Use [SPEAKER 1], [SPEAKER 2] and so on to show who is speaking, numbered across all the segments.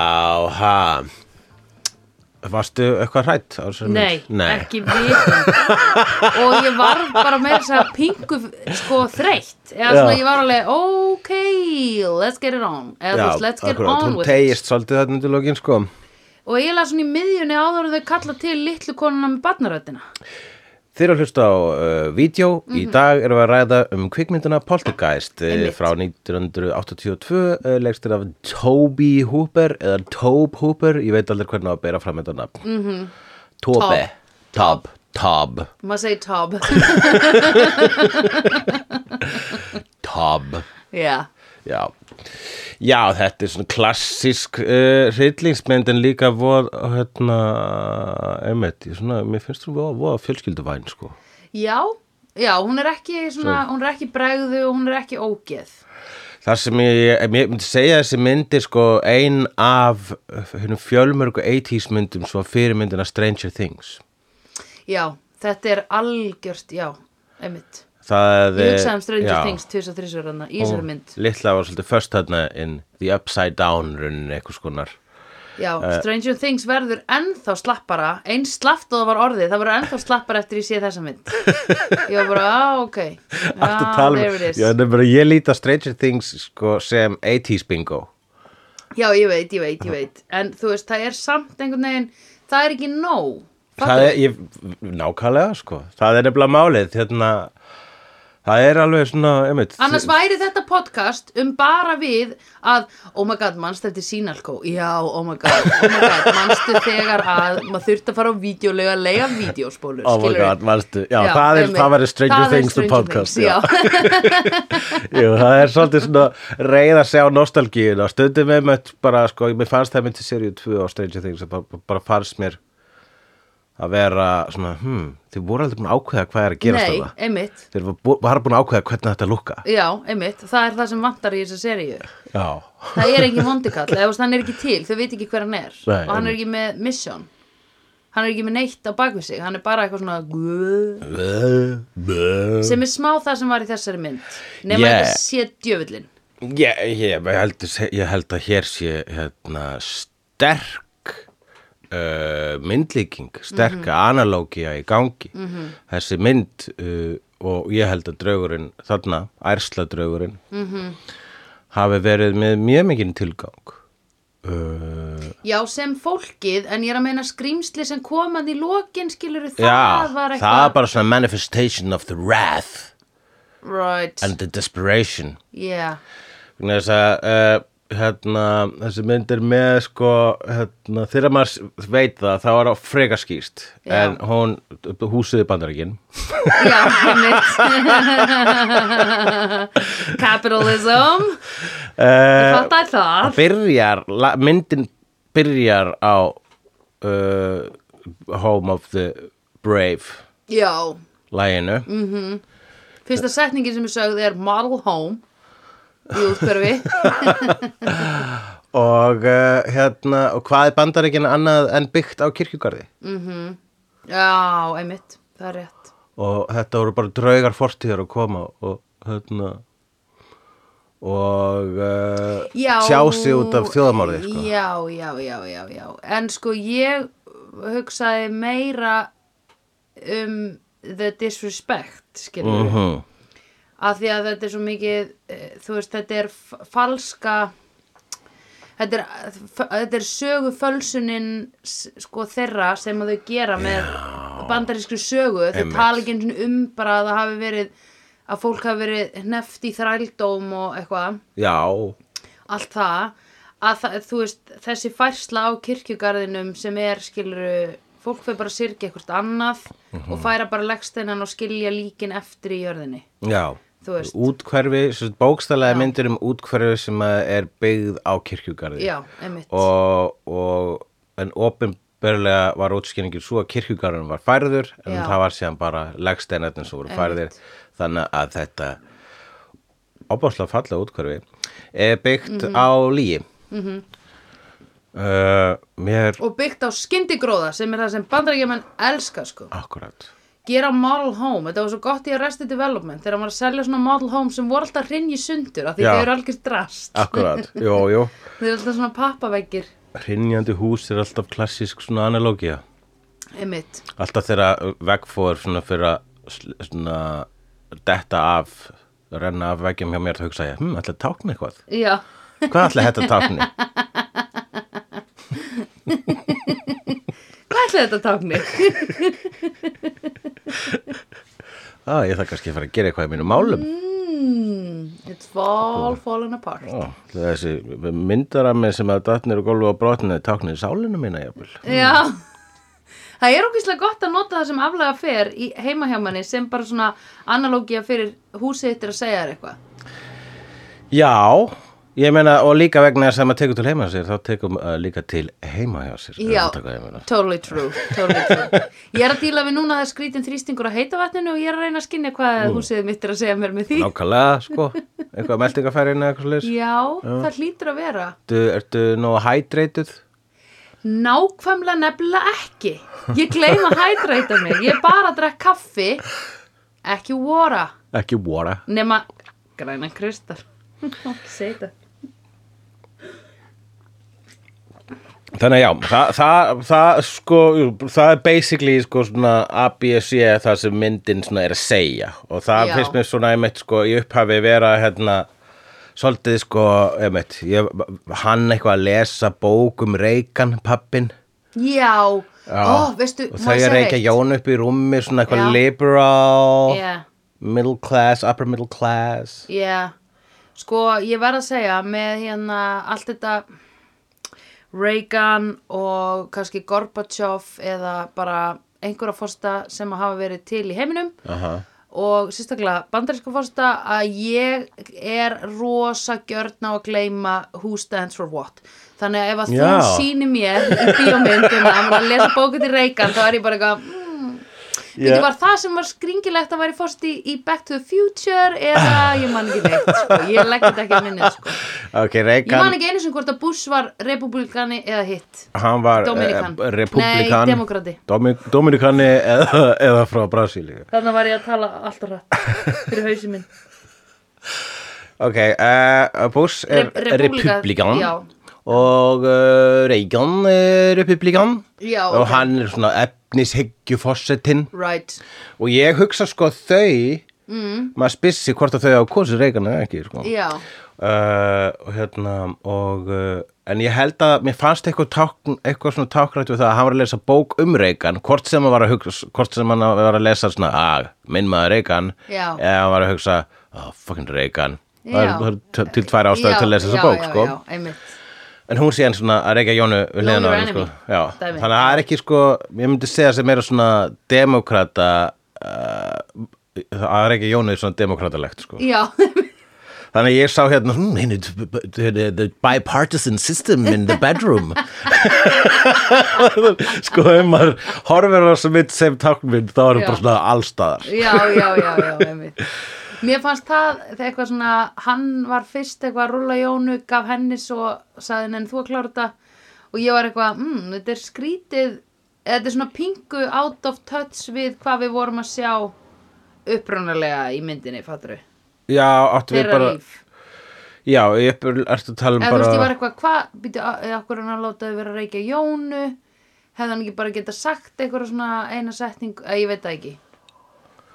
[SPEAKER 1] Ha Varstu eitthvað hrætt? á þessari
[SPEAKER 2] Nei,
[SPEAKER 1] mynd? Nei.
[SPEAKER 2] ekki vitund og ég var bara meira þess að pingu sko þreytt eða svona
[SPEAKER 1] Já.
[SPEAKER 2] ég var alveg ok, let's get it on eða þú veist, let's get
[SPEAKER 1] akkúrat,
[SPEAKER 2] on
[SPEAKER 1] Hún
[SPEAKER 2] with it
[SPEAKER 1] tegist svolítið þarna undir lokin sko
[SPEAKER 2] og ég laði svona í miðjunni áður en þau kalla til litlu konuna með barnaröddina
[SPEAKER 1] Þeir eru að hlusta á uh, vídeo, í dag erum við að ræða um kvikmynduna Poltergeist uh,
[SPEAKER 2] Mhm. Einmitt.
[SPEAKER 1] frá 1982, uh, legstir af Toby Hooper eða Tobe Hooper, ég veit aldrei hvernig á að bera fram þetta nafn. Mm
[SPEAKER 2] Mhm.
[SPEAKER 1] -hmm. Tobe, Tob, Tob,
[SPEAKER 2] maður segi Tob
[SPEAKER 1] Tob,
[SPEAKER 2] já,
[SPEAKER 1] já. Já, þetta er svona klassísk uh, hryllingsmynd en líka vor, hérna, einmitt, ég svona, mér finnst þú voða, voða fjölskylduvæn, sko.
[SPEAKER 2] já, já hún er ekki svona, hún er ekki bregðu og hún er ekki ógeð
[SPEAKER 1] Það sem ég, eh, ég myndi segja að þessi myndi sko ein af hennum fjölmörgu 80s myndum svo fyrir myndina Stranger Things.
[SPEAKER 2] já, þetta er algjört, já, einmitt
[SPEAKER 1] Það,
[SPEAKER 2] ég
[SPEAKER 1] eh,
[SPEAKER 2] hugsaði um Stranger
[SPEAKER 1] já,
[SPEAKER 2] Things 2003 ranna, í þessari mynd
[SPEAKER 1] Litla var svolítið först þarna in the upside down runnin eitthvað skonar.
[SPEAKER 2] Já,
[SPEAKER 1] Eh,
[SPEAKER 2] Stranger Things verður ennþá slappara eins slappt og það var orðið, það verður ennþá slappara eftir ég sé þessa mynd Ég var bara, á, ok
[SPEAKER 1] Ertu að
[SPEAKER 2] Já,
[SPEAKER 1] tala um-
[SPEAKER 2] Ah, there it is
[SPEAKER 1] Já,
[SPEAKER 2] já.
[SPEAKER 1] það er bara ég líta Stranger Things sko sem 80s bingo.
[SPEAKER 2] ég veit, ég veit, ég veit En þú veist, það er samt einhvern veginn Það er ekki nóg
[SPEAKER 1] Það
[SPEAKER 2] Fattar
[SPEAKER 1] er, ég, nákvæmlega sko, það er nefnilega málið, hérna, það er alveg svona, einmitt.
[SPEAKER 2] Annars væri þetta podcast um bara við að, oh my god, manstu eftir sínalkó? Já, oh my god, oh my god, manstu þegar að maður þurfti að fara á vídeolega að leiga vídeospólur,
[SPEAKER 1] Oh my god, manstu, já, það, er,
[SPEAKER 2] einmitt.
[SPEAKER 1] það væri Stranger
[SPEAKER 2] Það er
[SPEAKER 1] Things the
[SPEAKER 2] Stranger
[SPEAKER 1] podcast
[SPEAKER 2] Things, já.
[SPEAKER 1] Jú, það er svolítið svona reyð að sjá nostalgíuna stundum með mött bara, sko, mér fannst það myndi seríu 2 á Stranger Things að bara, bara fannst mér að vera svona, hmm, þið voru aldrei búin að ákveða hvað er að gera
[SPEAKER 2] Nei,
[SPEAKER 1] stöða
[SPEAKER 2] einmitt
[SPEAKER 1] Þeir voru bú- bara búin að ákveða hvernig þetta lukka
[SPEAKER 2] Já, einmitt, það er það sem vantar í þessa seríu
[SPEAKER 1] Já,
[SPEAKER 2] Það er engin vondikall, eða þú veist, hann er ekki til Þau veit ekki hver hann er
[SPEAKER 1] Nei,
[SPEAKER 2] Og hann
[SPEAKER 1] einmitt.
[SPEAKER 2] er ekki með mission Hann er ekki með neitt á bakvið sig Hann er bara eitthvað svona guð, Sem er smá það sem var í þessari mynd Nefna
[SPEAKER 1] Yeah.
[SPEAKER 2] þetta sé djöfullin
[SPEAKER 1] ég, ég, ég, held, ég held að hér sé hérna, sterk uh, myndlíking sterk
[SPEAKER 2] Mhm.
[SPEAKER 1] mm í gangi þessi mynd uh, og ég held að draugurinn þarna, ærsla draugurinn
[SPEAKER 2] Mhm.
[SPEAKER 1] hafi verið með mjög mikinn tilgang uh,
[SPEAKER 2] Já, sem fólkið, en ég er að meina skrýmsli sem komað í lokin skilur það
[SPEAKER 1] já,
[SPEAKER 2] var eitthvað
[SPEAKER 1] það er bara svona manifestation of the wrath
[SPEAKER 2] Right,
[SPEAKER 1] and the desperation
[SPEAKER 2] yeah
[SPEAKER 1] Vegna þess að uh, hérna, þessi mynd er með sko, hérna, þegar maður veit það þá er það freka skýst
[SPEAKER 2] Já.
[SPEAKER 1] en hún, húsið í bandaríkin
[SPEAKER 2] Já, einmitt Capitalism Ég
[SPEAKER 1] uh,
[SPEAKER 2] fattar það
[SPEAKER 1] byrjar la, myndin byrjar á uh, Home of the Brave
[SPEAKER 2] Já,
[SPEAKER 1] læginu
[SPEAKER 2] fyrsta setningin sem ég sögði er model home í útkverfi
[SPEAKER 1] og, uh, hérna, og hvað er bandaríkin annað en byggt á kirkjugarði
[SPEAKER 2] Já, einmitt, það er rétt
[SPEAKER 1] og þetta voru bara draugar fortíðar að koma og hérna og uh,
[SPEAKER 2] já,
[SPEAKER 1] sjá sig út af þjóðamálið sko.
[SPEAKER 2] Já, já, já, já, já En sko ég hugsaði meira um the disrespect skilur
[SPEAKER 1] uh -huh.
[SPEAKER 2] af því að þetta er svo mikið eh, þú veist, þetta er f- falska þetta er, f- þetta er sögufölsunin s- sko þeirra sem að þau gera með bandarísku sögu þau
[SPEAKER 1] Einmitt.
[SPEAKER 2] tala ekki einu sinni um bara að það hafi verið að fólk hafi verið hneft í þrældóm og eitthvað
[SPEAKER 1] já,
[SPEAKER 2] allt það að það, þú veist, þessi færsla á kirkjugarðinum sem er skiluru fólk fyrir bara að syrgja eitthvað annað og færa bara leggsteinan og skilja líkin eftir í jörðinni
[SPEAKER 1] já
[SPEAKER 2] Þú veist.
[SPEAKER 1] útkverfi, sem sagt, bókstaflega myndir um útkverfi sem að er byggð á kirkjugarði
[SPEAKER 2] Já, einmitt.
[SPEAKER 1] og, og en opinberlega var útskýringin svo að kirkjugarðin var færður en
[SPEAKER 2] Já.
[SPEAKER 1] það var síðan bara legsteinarnir sem voru færðir
[SPEAKER 2] Einmitt.
[SPEAKER 1] þannig að þetta opáslega falla útkverfi er byggt
[SPEAKER 2] Mhm.
[SPEAKER 1] á líi mm mér
[SPEAKER 2] og byggt á skyndigróða sem er það sem bandarækjumenn elska sko.
[SPEAKER 1] akkurat
[SPEAKER 2] Gera model home, þetta var svo gott í Arrested Development þegar hann var að selja svona model home sem voru alltaf hrinji sundur af því
[SPEAKER 1] Já.
[SPEAKER 2] þau eru algjör drast.
[SPEAKER 1] akkurat, jú, jú
[SPEAKER 2] Þau eru alltaf svona pappaveggir.
[SPEAKER 1] hrinjandi hús er alltaf klassísk svona analógia
[SPEAKER 2] einmitt
[SPEAKER 1] alltaf þegar vegfóður svona fyrir að sl- svona detta af renna af veggjum hjá mér þá hugsa ég, hm, ætla að tákna eitthvað
[SPEAKER 2] já,
[SPEAKER 1] hvað ætla þetta að tákna?
[SPEAKER 2] hvað ætlaði þetta tákni?
[SPEAKER 1] ah, ég ætla kannski að fara að gera eitthvað í mínum málum
[SPEAKER 2] mm, it's all falling apart
[SPEAKER 1] Ó, þessi myndarami sem að datnir og gólfu á brotni táknir sálinu mína jafnvel
[SPEAKER 2] Já Það er ógeðslega gott að nota það sem aflega fer í heimahjámanni sem bara svona analógia fyrir húsið þitt er að segja þér eitthvað.
[SPEAKER 1] Já, ég meina og líka vegna þess að maður tekur til heima hjá sér þá tekum uh, líka til heima hjá sér
[SPEAKER 2] Já,
[SPEAKER 1] Ef þú tekur heima hjá sér.
[SPEAKER 2] totally true, totally true. Ég er að díla við núna að það er skrítin þrýstingur á heita vatninu og ég er að reyna að skynja hvað húsið mitt er að segja mér með því.
[SPEAKER 1] Nákvæmlega, sko, eitthvað meldingafærin eða eitthvað slags
[SPEAKER 2] Já, það hlýtur að vera.
[SPEAKER 1] ertu, ertu nógu hydrated?
[SPEAKER 2] Nákvæmlega nefnilega ekki. Ég gleym að hætreita mig. Ég er bara að drekka kaffi, ekki vora,
[SPEAKER 1] Ekki water
[SPEAKER 2] nema grænan kristal. Ekki segja þetta.
[SPEAKER 1] Þannig að já, það, það, það, sko, það er basically sko, svona ABSC E, það sem myndin svona er að segja og það
[SPEAKER 2] Já.
[SPEAKER 1] finnst mér svona einmitt sko, í upphafi vera hérna, svolítið sko, einmitt, ég, hann eitthvað að lesa bók um reykan pappin
[SPEAKER 2] Já, ó, veistu,
[SPEAKER 1] og
[SPEAKER 2] má ég
[SPEAKER 1] þau er
[SPEAKER 2] segja
[SPEAKER 1] reykja
[SPEAKER 2] eitt?
[SPEAKER 1] Jón upp í rúmi svona eitthvað
[SPEAKER 2] Já.
[SPEAKER 1] liberal,
[SPEAKER 2] Já,
[SPEAKER 1] middle class, upper middle class
[SPEAKER 2] já, sko, ég verð að segja með hérna allt þetta Reagan og kannski Gorbachev eða bara einhverja fórsta sem hafa verið til í heiminum
[SPEAKER 1] Aha.
[SPEAKER 2] og sérstaklega bandaríska fórsta að ég er rosa gjörn á að gleyma who stands for what þannig að ef að
[SPEAKER 1] Já.
[SPEAKER 2] þú sýni mér í bíómyndum að maður að lesa bókut í Reagan þá er ég bara eitthvað mm,
[SPEAKER 1] Já.
[SPEAKER 2] yeah. var það sem var skringilegt að væri fórst í, í Back to the Future eða ég man ekki neitt sko. ég legg þetta ekki að minni sko.
[SPEAKER 1] Ok,
[SPEAKER 2] ég man
[SPEAKER 1] Reagan,
[SPEAKER 2] ekki einu sem hvort að Bush var republikani eða hitt
[SPEAKER 1] hann var
[SPEAKER 2] Dominikan.
[SPEAKER 1] eh, republikan
[SPEAKER 2] Nei, demókrati.
[SPEAKER 1] Domi, Dominikani eða, eða frá Brasíli
[SPEAKER 2] þannig var ég að tala alltaf rætt fyrir hausin minn
[SPEAKER 1] Ok, uh, Bush er
[SPEAKER 2] Re- repúblika-
[SPEAKER 1] republikan
[SPEAKER 2] já.
[SPEAKER 1] og uh, Reagan er republikan
[SPEAKER 2] Já,
[SPEAKER 1] og
[SPEAKER 2] ok.
[SPEAKER 1] hann er svona efnishyggjuforsetinn
[SPEAKER 2] right,
[SPEAKER 1] og ég hugsa sko þau mm. maður spissi hvort að þau hafa kosið Reagan eða ekki sko.
[SPEAKER 2] já
[SPEAKER 1] uh, og hérna og, uh, en ég held að mér fannst eitthvað, tákn, eitthvað svona tákrætt við það að hann var að lesa bók um Reagan hvort sem hann var að, hugsa, hvort sem hann var að lesa svona, að, minn maður Reagan
[SPEAKER 2] Já.
[SPEAKER 1] eða hann var að hugsa, oh, fucking Reagan það
[SPEAKER 2] Já.
[SPEAKER 1] er- það er t- til tvær ástæður til að lesa þessa
[SPEAKER 2] já,
[SPEAKER 1] bók
[SPEAKER 2] já,
[SPEAKER 1] sko.
[SPEAKER 2] já, einmitt
[SPEAKER 1] en hún sé hann svona að reykja Jónu við
[SPEAKER 2] Know
[SPEAKER 1] hliðina
[SPEAKER 2] your
[SPEAKER 1] á henni, sko.
[SPEAKER 2] enemy.
[SPEAKER 1] Já.
[SPEAKER 2] Dæmi.
[SPEAKER 1] þannig að það er ekki sko ég myndi segja sem meira svona demokrata uh, að reykja Jónu er svona demokratalegt sko.
[SPEAKER 2] Já,
[SPEAKER 1] Þannig að ég sá hérna hmm, hérna, t- b- t- the, the bipartisan system in the bedroom Sko ef maður horfir á þessu mynd sem tákmynd þá erum
[SPEAKER 2] Já.
[SPEAKER 1] bara svona allstaðar
[SPEAKER 2] já, já, já, já, einmitt. Mér fannst það þegar eitthvað svona, hann var fyrst eitthvað að rúlla Jónu, gaf henni svo, sagði henni þú að klára þetta og ég var eitthvað, mm, þetta er skrítið, eða þetta er svona pingu out of touch við hvað við vorum að sjá upprunalega í myndinni, fattur við,
[SPEAKER 1] Já, áttu við
[SPEAKER 2] þeirra
[SPEAKER 1] bara
[SPEAKER 2] líf.
[SPEAKER 1] Já, ég er, ertu að tala um
[SPEAKER 2] Eða þú
[SPEAKER 1] bara
[SPEAKER 2] veist, ég var eitthvað, hvað, býtu, eða okkur hann að látaði vera að reykja Jónu, hefði hann ekki bara geta sagt eitthvað svona eina setning, eða ég veit það ekki.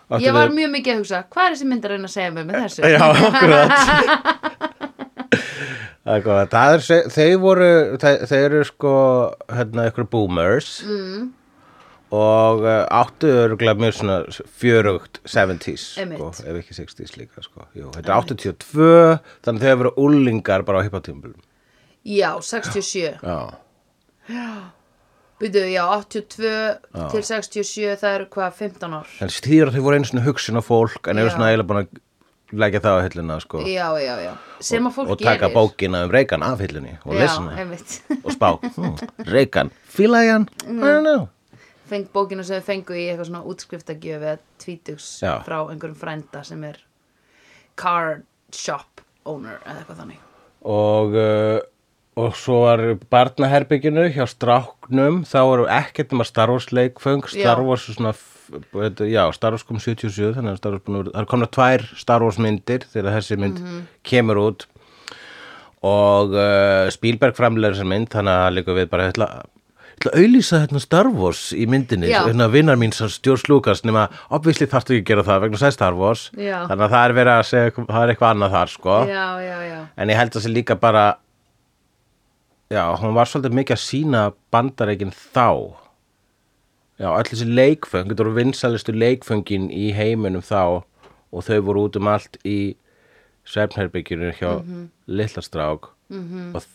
[SPEAKER 1] áttu
[SPEAKER 2] Ég
[SPEAKER 1] við-
[SPEAKER 2] var mjög mikið að hugsa, hvað er þessi mynd að reyna að segja mér með þessu?
[SPEAKER 1] Eh, Já, akkurat Það er góð, það er, se- þau voru, þau, þau eru sko, hérna, ykkur boomers mm. og uh, áttu örgulega mjög svona fjörugt 70s, sko,
[SPEAKER 2] Einmitt.
[SPEAKER 1] ef ekki 60s líka, sko. Jú, þetta er 82, þannig þau hefur verið úlingar bara á hippatímbulum.
[SPEAKER 2] Já, 67.
[SPEAKER 1] Já.
[SPEAKER 2] Býtu, já, 82 til 67, það eru hvað, 15 ár?
[SPEAKER 1] En stýra þau voru einu svona hugsun á fólk, en eru
[SPEAKER 2] Já.
[SPEAKER 1] svona eiginlega búin að leggja það á hillina, sko.
[SPEAKER 2] Já, já, já. Sem að fólk
[SPEAKER 1] og taka
[SPEAKER 2] gerir.
[SPEAKER 1] bókina um reykan af hillunni
[SPEAKER 2] Já,
[SPEAKER 1] og lesa hana
[SPEAKER 2] einmitt.
[SPEAKER 1] og spá, hmm, reykan, fílaði hann? I don't know.
[SPEAKER 2] Feng bókina sem við fengu í eitthvað svona útskriftagjöf eða tvítugs
[SPEAKER 1] Já.
[SPEAKER 2] frá einhverjum frænda sem er car shop owner eða eitthvað þannig.
[SPEAKER 1] og, uh, og svo var barnaherbygginu hjá stráknum þá voru ekkert nema Star Wars leikföng
[SPEAKER 2] Já.
[SPEAKER 1] Star Wars er svona f- þetta- já, Star Wars kom 77 þannig að Star
[SPEAKER 2] Mhm.
[SPEAKER 1] Wars búin að vera- það er komna tvær Star Wars myndir þegar þessi mynd kemur út og uh, Spielberg framlega þessar mynd þannig að líka við bara ætla, ætla að auðlýsa hérna Star Wars í myndinni
[SPEAKER 2] Já.
[SPEAKER 1] hérna vinnar mín sem Stjórns Lukas nema obvisli þarftu ekki að gera það vegna sæði Star Wars
[SPEAKER 2] Já.
[SPEAKER 1] þannig að það er verið að segja eitthvað- það er eitthvað annað þar sko
[SPEAKER 2] já, já, já
[SPEAKER 1] en ég held að sé líka bara já, hún var svolítið mikið að sína bandareikin þá já, öll þessi leikföng þetta voru vinsalistu leikföngin í heiminum þá og þau voru út um allt í svefnherbyggjunum hjá mm
[SPEAKER 2] Mhm.
[SPEAKER 1] -hmm. lillastrák og,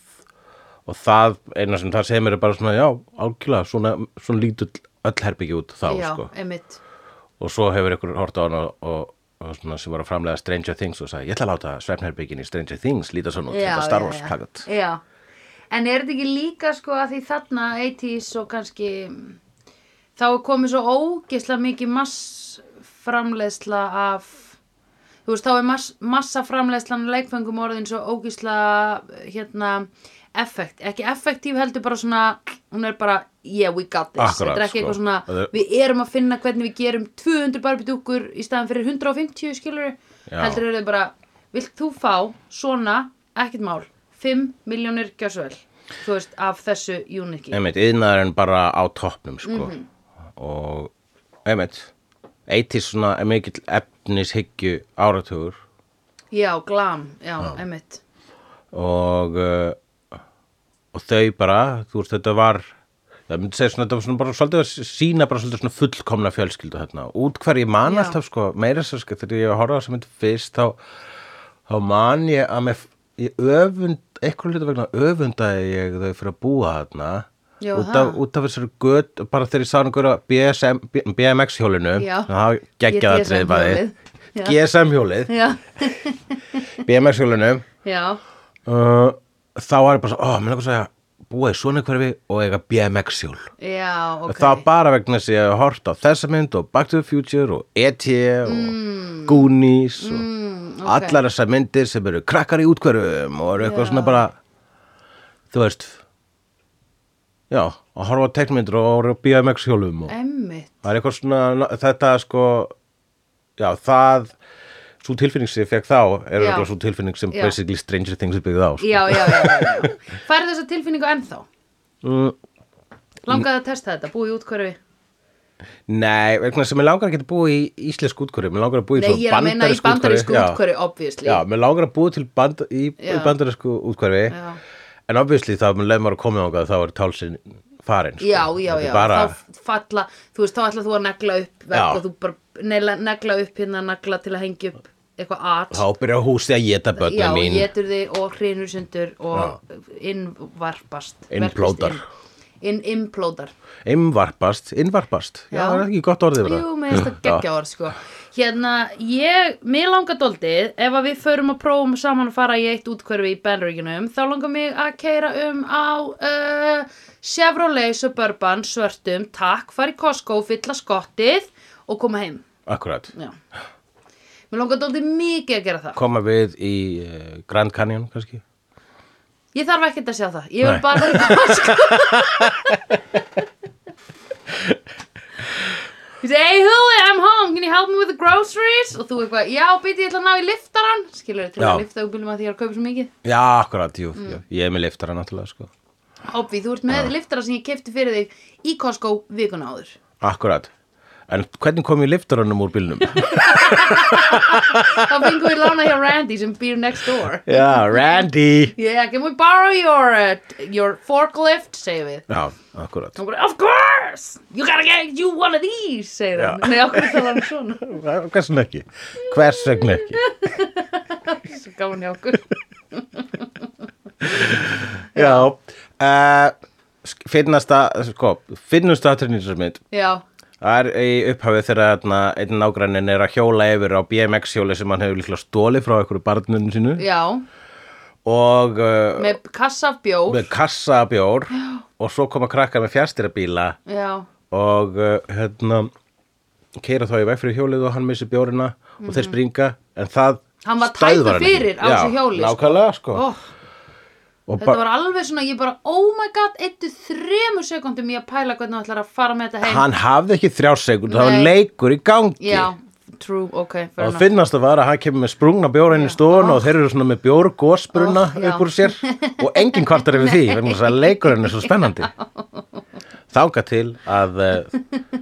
[SPEAKER 1] og það eina sem það segir mér er bara svona já, algjörlega, svona, svona lítur öll herbyggju út þá
[SPEAKER 2] já,
[SPEAKER 1] sko
[SPEAKER 2] einmitt
[SPEAKER 1] og svo hefur ykkur hort á hann og, og, og svona sem var að framlega Stranger Things og sagði, ég ætla að láta svefnherbyggin í Stranger Things líta svona út,
[SPEAKER 2] já,
[SPEAKER 1] þetta Star
[SPEAKER 2] já,
[SPEAKER 1] Wars
[SPEAKER 2] já.
[SPEAKER 1] plakat
[SPEAKER 2] já. En er þetta ekki líka sko að því þarna 80s og kannski mm, þá er komið svo ógisla mikið massframleiðsla af þú veist þá er mass, massaframleiðslan af leikfengum orðin svo ógisla hérna effekt, ekki effektív heldur bara svona hún er bara, yeah we got this þetta
[SPEAKER 1] Akkurat,
[SPEAKER 2] er ekki
[SPEAKER 1] sko.
[SPEAKER 2] eitthvað svona,
[SPEAKER 1] Það er-
[SPEAKER 2] við erum að finna hvernig við gerum 200 barbidúkur í staðan fyrir 150 skilur
[SPEAKER 1] Já.
[SPEAKER 2] heldur eru þau bara, vilt þú fá svona, ekkert mál 5 miljónir gjössuvel þú veist, af þessu uniki
[SPEAKER 1] einmitt, yðnaðurinn bara á toppnum sko.
[SPEAKER 2] Mhm.
[SPEAKER 1] og einmitt 80 svona er mikill efnishyggju áratugur
[SPEAKER 2] já, glam, já, einmitt
[SPEAKER 1] og uh, og þau bara, þú veist þetta var það myndi segja svona, þetta var svona bara svolítið að sína bara svolítið svona fullkomna fjölskyldu þarna, út hverju man
[SPEAKER 2] Já.
[SPEAKER 1] alltaf sko, meira svo sko, þegar ég var að horfa á þess að myndi fyrst þá, þá man ég að með ég öfund, eitthvað hluta vegna öfundaði ég þau fyrir að búa þarna
[SPEAKER 2] Já,
[SPEAKER 1] út,
[SPEAKER 2] það.
[SPEAKER 1] af, út af þessari göt bara þegar ég sá einhverja BSM, B- BMX hjólinu
[SPEAKER 2] Já.
[SPEAKER 1] það geggjaða
[SPEAKER 2] Ég DSM
[SPEAKER 1] treyðbæði
[SPEAKER 2] hjólið. Já.
[SPEAKER 1] GSM hjólið,
[SPEAKER 2] já,
[SPEAKER 1] BMX hjólinu
[SPEAKER 2] já,
[SPEAKER 1] uh, þá var ég bara svo, ó, mér langar svo að búa í svona hverfi og eiga BMX hjól
[SPEAKER 2] já, ok
[SPEAKER 1] það var bara vegna þess að ég hef hort á þessa mynd og Back to the Future og E.T. og Goonies og
[SPEAKER 2] Mm. ok.
[SPEAKER 1] allar þessar myndir sem eru krakkar í útkverfum og eru eitthvað
[SPEAKER 2] Já.
[SPEAKER 1] svona bara þú veist já, að horfa á teknmyndir og horfa á BMX hjólum og
[SPEAKER 2] einmitt,
[SPEAKER 1] það er eitthvað svona, þetta sko já, það svo tilfinning sem ég fekk þá er
[SPEAKER 2] Já.
[SPEAKER 1] eitthvað svo tilfinning sem
[SPEAKER 2] Já.
[SPEAKER 1] basically Stranger Things er byggðið á sko.
[SPEAKER 2] já, já, já, já, já. færðu þessa tilfinningu ennþá
[SPEAKER 1] Mm,
[SPEAKER 2] langaði að testa þetta, búið út hverfi
[SPEAKER 1] Nei, vegna sem ég langar ekki að búa í íslensk útkori, mér langar að búa í
[SPEAKER 2] nei, ég er að meina í
[SPEAKER 1] bandarísku
[SPEAKER 2] bandarísku
[SPEAKER 1] úthverfi, já.
[SPEAKER 2] útkverfi, obviously
[SPEAKER 1] Já, mér langar að búa til band, í, í
[SPEAKER 2] Já.
[SPEAKER 1] bandarísku útkori
[SPEAKER 2] Já.
[SPEAKER 1] en obviously þá mér leið maður að koma þangað þá er tálsinn farin sko.
[SPEAKER 2] Já, já,
[SPEAKER 1] Þetta er
[SPEAKER 2] já,
[SPEAKER 1] bara,
[SPEAKER 2] þá falla, þú veist, þá ætla þú að negla upp vekk
[SPEAKER 1] Já.
[SPEAKER 2] og þú bara negla, negla upp hérna, negla til að hengja upp eitthvað at.
[SPEAKER 1] þá byrja húsið að geta
[SPEAKER 2] já,
[SPEAKER 1] börnum mín
[SPEAKER 2] getur þið og hrinur sundur og innvarpast.
[SPEAKER 1] Implódar.
[SPEAKER 2] verpist Inn, inn implódar.
[SPEAKER 1] innvarpast, innvarpast já,
[SPEAKER 2] Já.
[SPEAKER 1] það er ekki gott orðið yfir það.
[SPEAKER 2] Jú, með þetta geggja orð, sko. Hérna, ég, mér langar doldið, ef að við förum að prófum saman að fara í eitt útkverfi í Benríkinum, þá langar mig að keira um á uh, Chevrolet Suburban svörtum, takk, fara í Costco, fylla skottið og koma heim.
[SPEAKER 1] Akkurat,
[SPEAKER 2] Já. Mér langar doldið mikið að gera það.
[SPEAKER 1] koma við í uh, Grand Canyon kannski
[SPEAKER 2] Ég þarf ekkert að sjá það. Ég vil
[SPEAKER 1] Nei.
[SPEAKER 2] bara í Costco. Ég segi, hey Huli, I'm home, can you help me with the groceries? Og þú eitthvað, já, býti, ég ætla að ná í liftaran. Skilur, til
[SPEAKER 1] Já.
[SPEAKER 2] að lifta upp bílum að því ég er að kaupa svo mikið.
[SPEAKER 1] Já, akkurat, jú,
[SPEAKER 2] Mm.
[SPEAKER 1] jú. ég er með liftara náttúrulega sko.
[SPEAKER 2] Hoppi, þú ert með liftara sem ég kefti fyrir þig í Costco vikuna áður.
[SPEAKER 1] Akkurat, en hvernig kom ég liftaranum úr bílnum?
[SPEAKER 2] Þá fengum við lána hjá Randy sem býr next door.
[SPEAKER 1] Já, Randy
[SPEAKER 2] Yeah, can we borrow your, uh, your forklift, segir við.
[SPEAKER 1] Já, akkurat
[SPEAKER 2] Hún bara, of course, you gotta get you one of these, segir hann.
[SPEAKER 1] Já.
[SPEAKER 2] Nei, okkur tala hann svona.
[SPEAKER 1] Hvers vegna ekki? Hvers vegna ekki?
[SPEAKER 2] Svo gaman hjá okkur.
[SPEAKER 1] Já uh, Finnasta, sko, finnust aðtrynningsmynd
[SPEAKER 2] Já,
[SPEAKER 1] Það er í upphafið þegar þarna einn nágrannin er að hjóla yfir á BMX hjóli sem hann hefur líklega stólið frá einhverju barnunum sínu
[SPEAKER 2] já,
[SPEAKER 1] og uh,
[SPEAKER 2] með kassa af bjór.
[SPEAKER 1] með kassa af bjór og svo koma krakkar með fjastyrabíla
[SPEAKER 2] Já,
[SPEAKER 1] og uh, hérna keira þá í veg fyrir hjólið og hann missir bjórina og þeir springa en það
[SPEAKER 2] Mhm. Hann var
[SPEAKER 1] stöðvar
[SPEAKER 2] tæpur
[SPEAKER 1] hann ekki.
[SPEAKER 2] fyrir á þessu hjóli,
[SPEAKER 1] Já,
[SPEAKER 2] sko.
[SPEAKER 1] nákvæmlega sko
[SPEAKER 2] oh,
[SPEAKER 1] Og
[SPEAKER 2] þetta
[SPEAKER 1] ba-
[SPEAKER 2] var alveg svona, ég bara, oh my god, eittu þremur sekundum ég að pæla hvernig þú ætlar að fara með þetta heim.
[SPEAKER 1] hann hafði ekki þrjár sekund það var
[SPEAKER 2] Nei.
[SPEAKER 1] leikur í gangi
[SPEAKER 2] Já, true, ok, fair
[SPEAKER 1] og
[SPEAKER 2] enough.
[SPEAKER 1] finnast það var að hann kemur með sprungna bjóra inn í stofun og þeir eru svona með bjór gósbruna
[SPEAKER 2] Oh, já.
[SPEAKER 1] upp úr sér og engin kvartar yfir því vegna þess að leikurinn er svo spennandi þáka til að eh,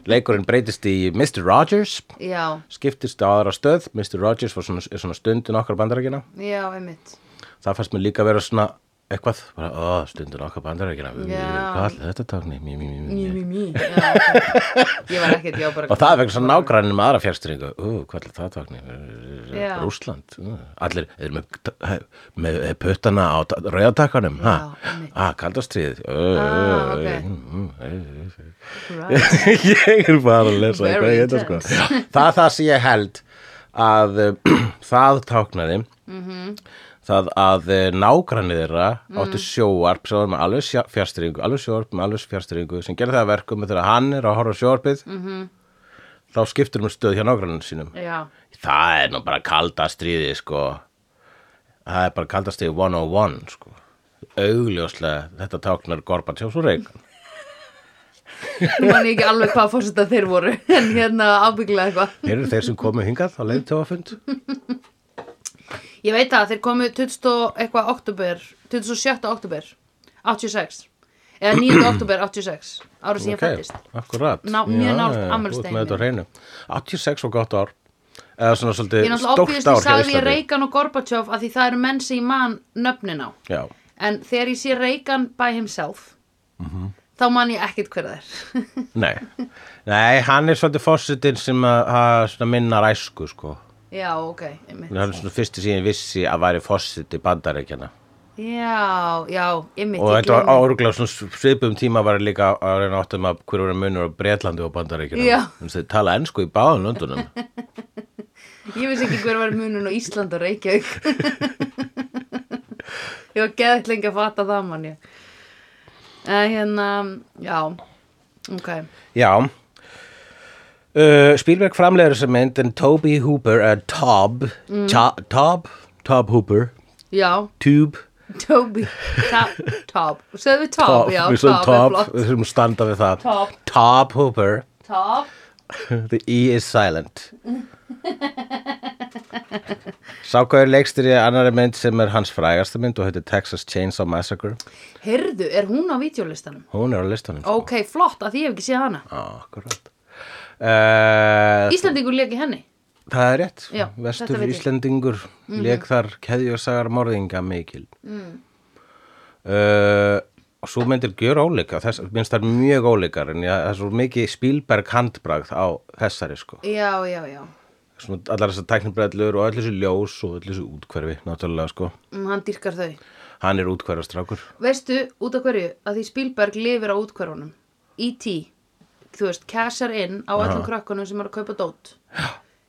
[SPEAKER 1] leikurinn breytist í Mr. Rogers
[SPEAKER 2] Já,
[SPEAKER 1] skiptist á aðra stöð Mr. Rogers var svona, er svona stundin okkar bandarækina
[SPEAKER 2] já, einmitt.
[SPEAKER 1] það fannst mér líka vera svona eitthvað, bara, ó, stundin okkar bandarækina
[SPEAKER 2] Já.
[SPEAKER 1] hvað allir þetta takni mjö, mjö, mjö, mjö.
[SPEAKER 2] Mí, mí, mí. Já, ok. Ég var ekkert, já, bara.
[SPEAKER 1] og það er vegna svona nágrænir með aðra fjárstyrningu ú, hvað allir það takni
[SPEAKER 2] Já.
[SPEAKER 1] Rúsland, allir eru með, með puttana á rauðatakkanum ha,
[SPEAKER 2] Já, einmitt.
[SPEAKER 1] ha, kaldastriðið
[SPEAKER 2] Ah, ok. Right.
[SPEAKER 1] ég er bara að lesa
[SPEAKER 2] Very
[SPEAKER 1] eitthvað ég heita, sko. Já, það er það sem ég held að uh, það táknaði það að uh, nágranni þeirra áttu sjóarp sem var með alveg fjárstyrningu alveg sjóarp með alveg fjárstyrningu sem gerði það að verkum að þegar hann er að horfa á sjóarpið þá skiptur um stöð hjá nágranninu sínum
[SPEAKER 2] Já,
[SPEAKER 1] það er nú bara kalda stríði sko það er bara kalda stríði 101 sko augljóslega þetta táknar Gorbachev svo reikan
[SPEAKER 2] nú man ég ekki alveg hvað fórseta þeir voru, en hérna ábygglega eitthvað.
[SPEAKER 1] þeir eru þeir sem komu hingað á leiðtjóðafund
[SPEAKER 2] Ég veit það, þeir komu 20 og eitthvað oktober, 27. oktober, 86, eða 9. oktober 86, árið sem ég fættist.
[SPEAKER 1] akkurat
[SPEAKER 2] Ná- mjög
[SPEAKER 1] Já,
[SPEAKER 2] nálægt
[SPEAKER 1] já,
[SPEAKER 2] afmælisdeginum
[SPEAKER 1] þú ert með þetta á hreinu. 86 og gott ár eða svona
[SPEAKER 2] Ég
[SPEAKER 1] svolítið
[SPEAKER 2] náttúrulega
[SPEAKER 1] stórt
[SPEAKER 2] obviously
[SPEAKER 1] ár hjá
[SPEAKER 2] sagði ég
[SPEAKER 1] Íslandi
[SPEAKER 2] Reykján og Gorbachev að því það eru menn sem ég man nöfnin á.
[SPEAKER 1] já,
[SPEAKER 2] En þegar ég sé Reykján by himself,
[SPEAKER 1] Mhm.
[SPEAKER 2] þá man ég ekkert hver það er.
[SPEAKER 1] nei nei, hann er svolítið fórsetin sem að, að svona minnar æsku sko
[SPEAKER 2] Já, ok, einmitt.
[SPEAKER 1] hann er svona fyrsti síðan vissi að væri fórseti bandarækjana
[SPEAKER 2] Já, já, einmitt.
[SPEAKER 1] og
[SPEAKER 2] ég
[SPEAKER 1] þetta var
[SPEAKER 2] gleymi-
[SPEAKER 1] áruglega svona svipum tíma var ég líka að reyna áttum að hverju voru munur á Bretlandi og
[SPEAKER 2] Já.
[SPEAKER 1] Bandaríkjunum Þannig að þeir tala ennsku í báðum löndunum
[SPEAKER 2] Ég vissi ekki hver var munun á Ísland og Reykjavík. ég var geðvægt lengi að fatta það mann ég. Uh, hérna, já, ok.
[SPEAKER 1] Já uh, Spielberg framleiður sem mynd en Toby Hooper uh, Tob,
[SPEAKER 2] Mm.
[SPEAKER 1] Ta- Tob Tob Hooper
[SPEAKER 2] Já,
[SPEAKER 1] Tube
[SPEAKER 2] Toby, Top, Top. Söðu við Top,
[SPEAKER 1] Tob,
[SPEAKER 2] já,
[SPEAKER 1] við sögum
[SPEAKER 2] Top er
[SPEAKER 1] Tob,
[SPEAKER 2] flott.
[SPEAKER 1] við þurfum að standa við það
[SPEAKER 2] Tob.
[SPEAKER 1] Tob Hooper
[SPEAKER 2] Top,
[SPEAKER 1] The E is silent Sákaður leikstir í annari mynd sem er hans frægasta mynd og heitir Texas Chainsaw Massacre
[SPEAKER 2] heyrðu, er hún á videolistanum?
[SPEAKER 1] Hún er á listanum sko.
[SPEAKER 2] Ok, flott, að því ég hef ekki séð hana.
[SPEAKER 1] Akkurat uh,
[SPEAKER 2] Íslandingur leki henni.
[SPEAKER 1] Það er rétt
[SPEAKER 2] Já, þetta
[SPEAKER 1] Vestur
[SPEAKER 2] veit ég. Mhm.
[SPEAKER 1] Íslendingur mm Lék þar keðjursagar morðinga mikil mm. uh, Svo myndir gjör óleika þess, Minnst það er mjög óleikar En ég, það er svo mikið spílberg handbragð á þessari sko
[SPEAKER 2] Já, já, já.
[SPEAKER 1] Svona Allar þessar tæknibrellur og allir þessu ljós Og allir þessu útkverfi náttúrulega sko
[SPEAKER 2] Mm, hann dýrkar þau.
[SPEAKER 1] Hann er útkverfastrákur
[SPEAKER 2] Veistu, út af hverju, að því Spielberg lifir á útkvarunum. E.T. Þú veist, cashar inn á öllum krökkunum sem eru að kaupa dót.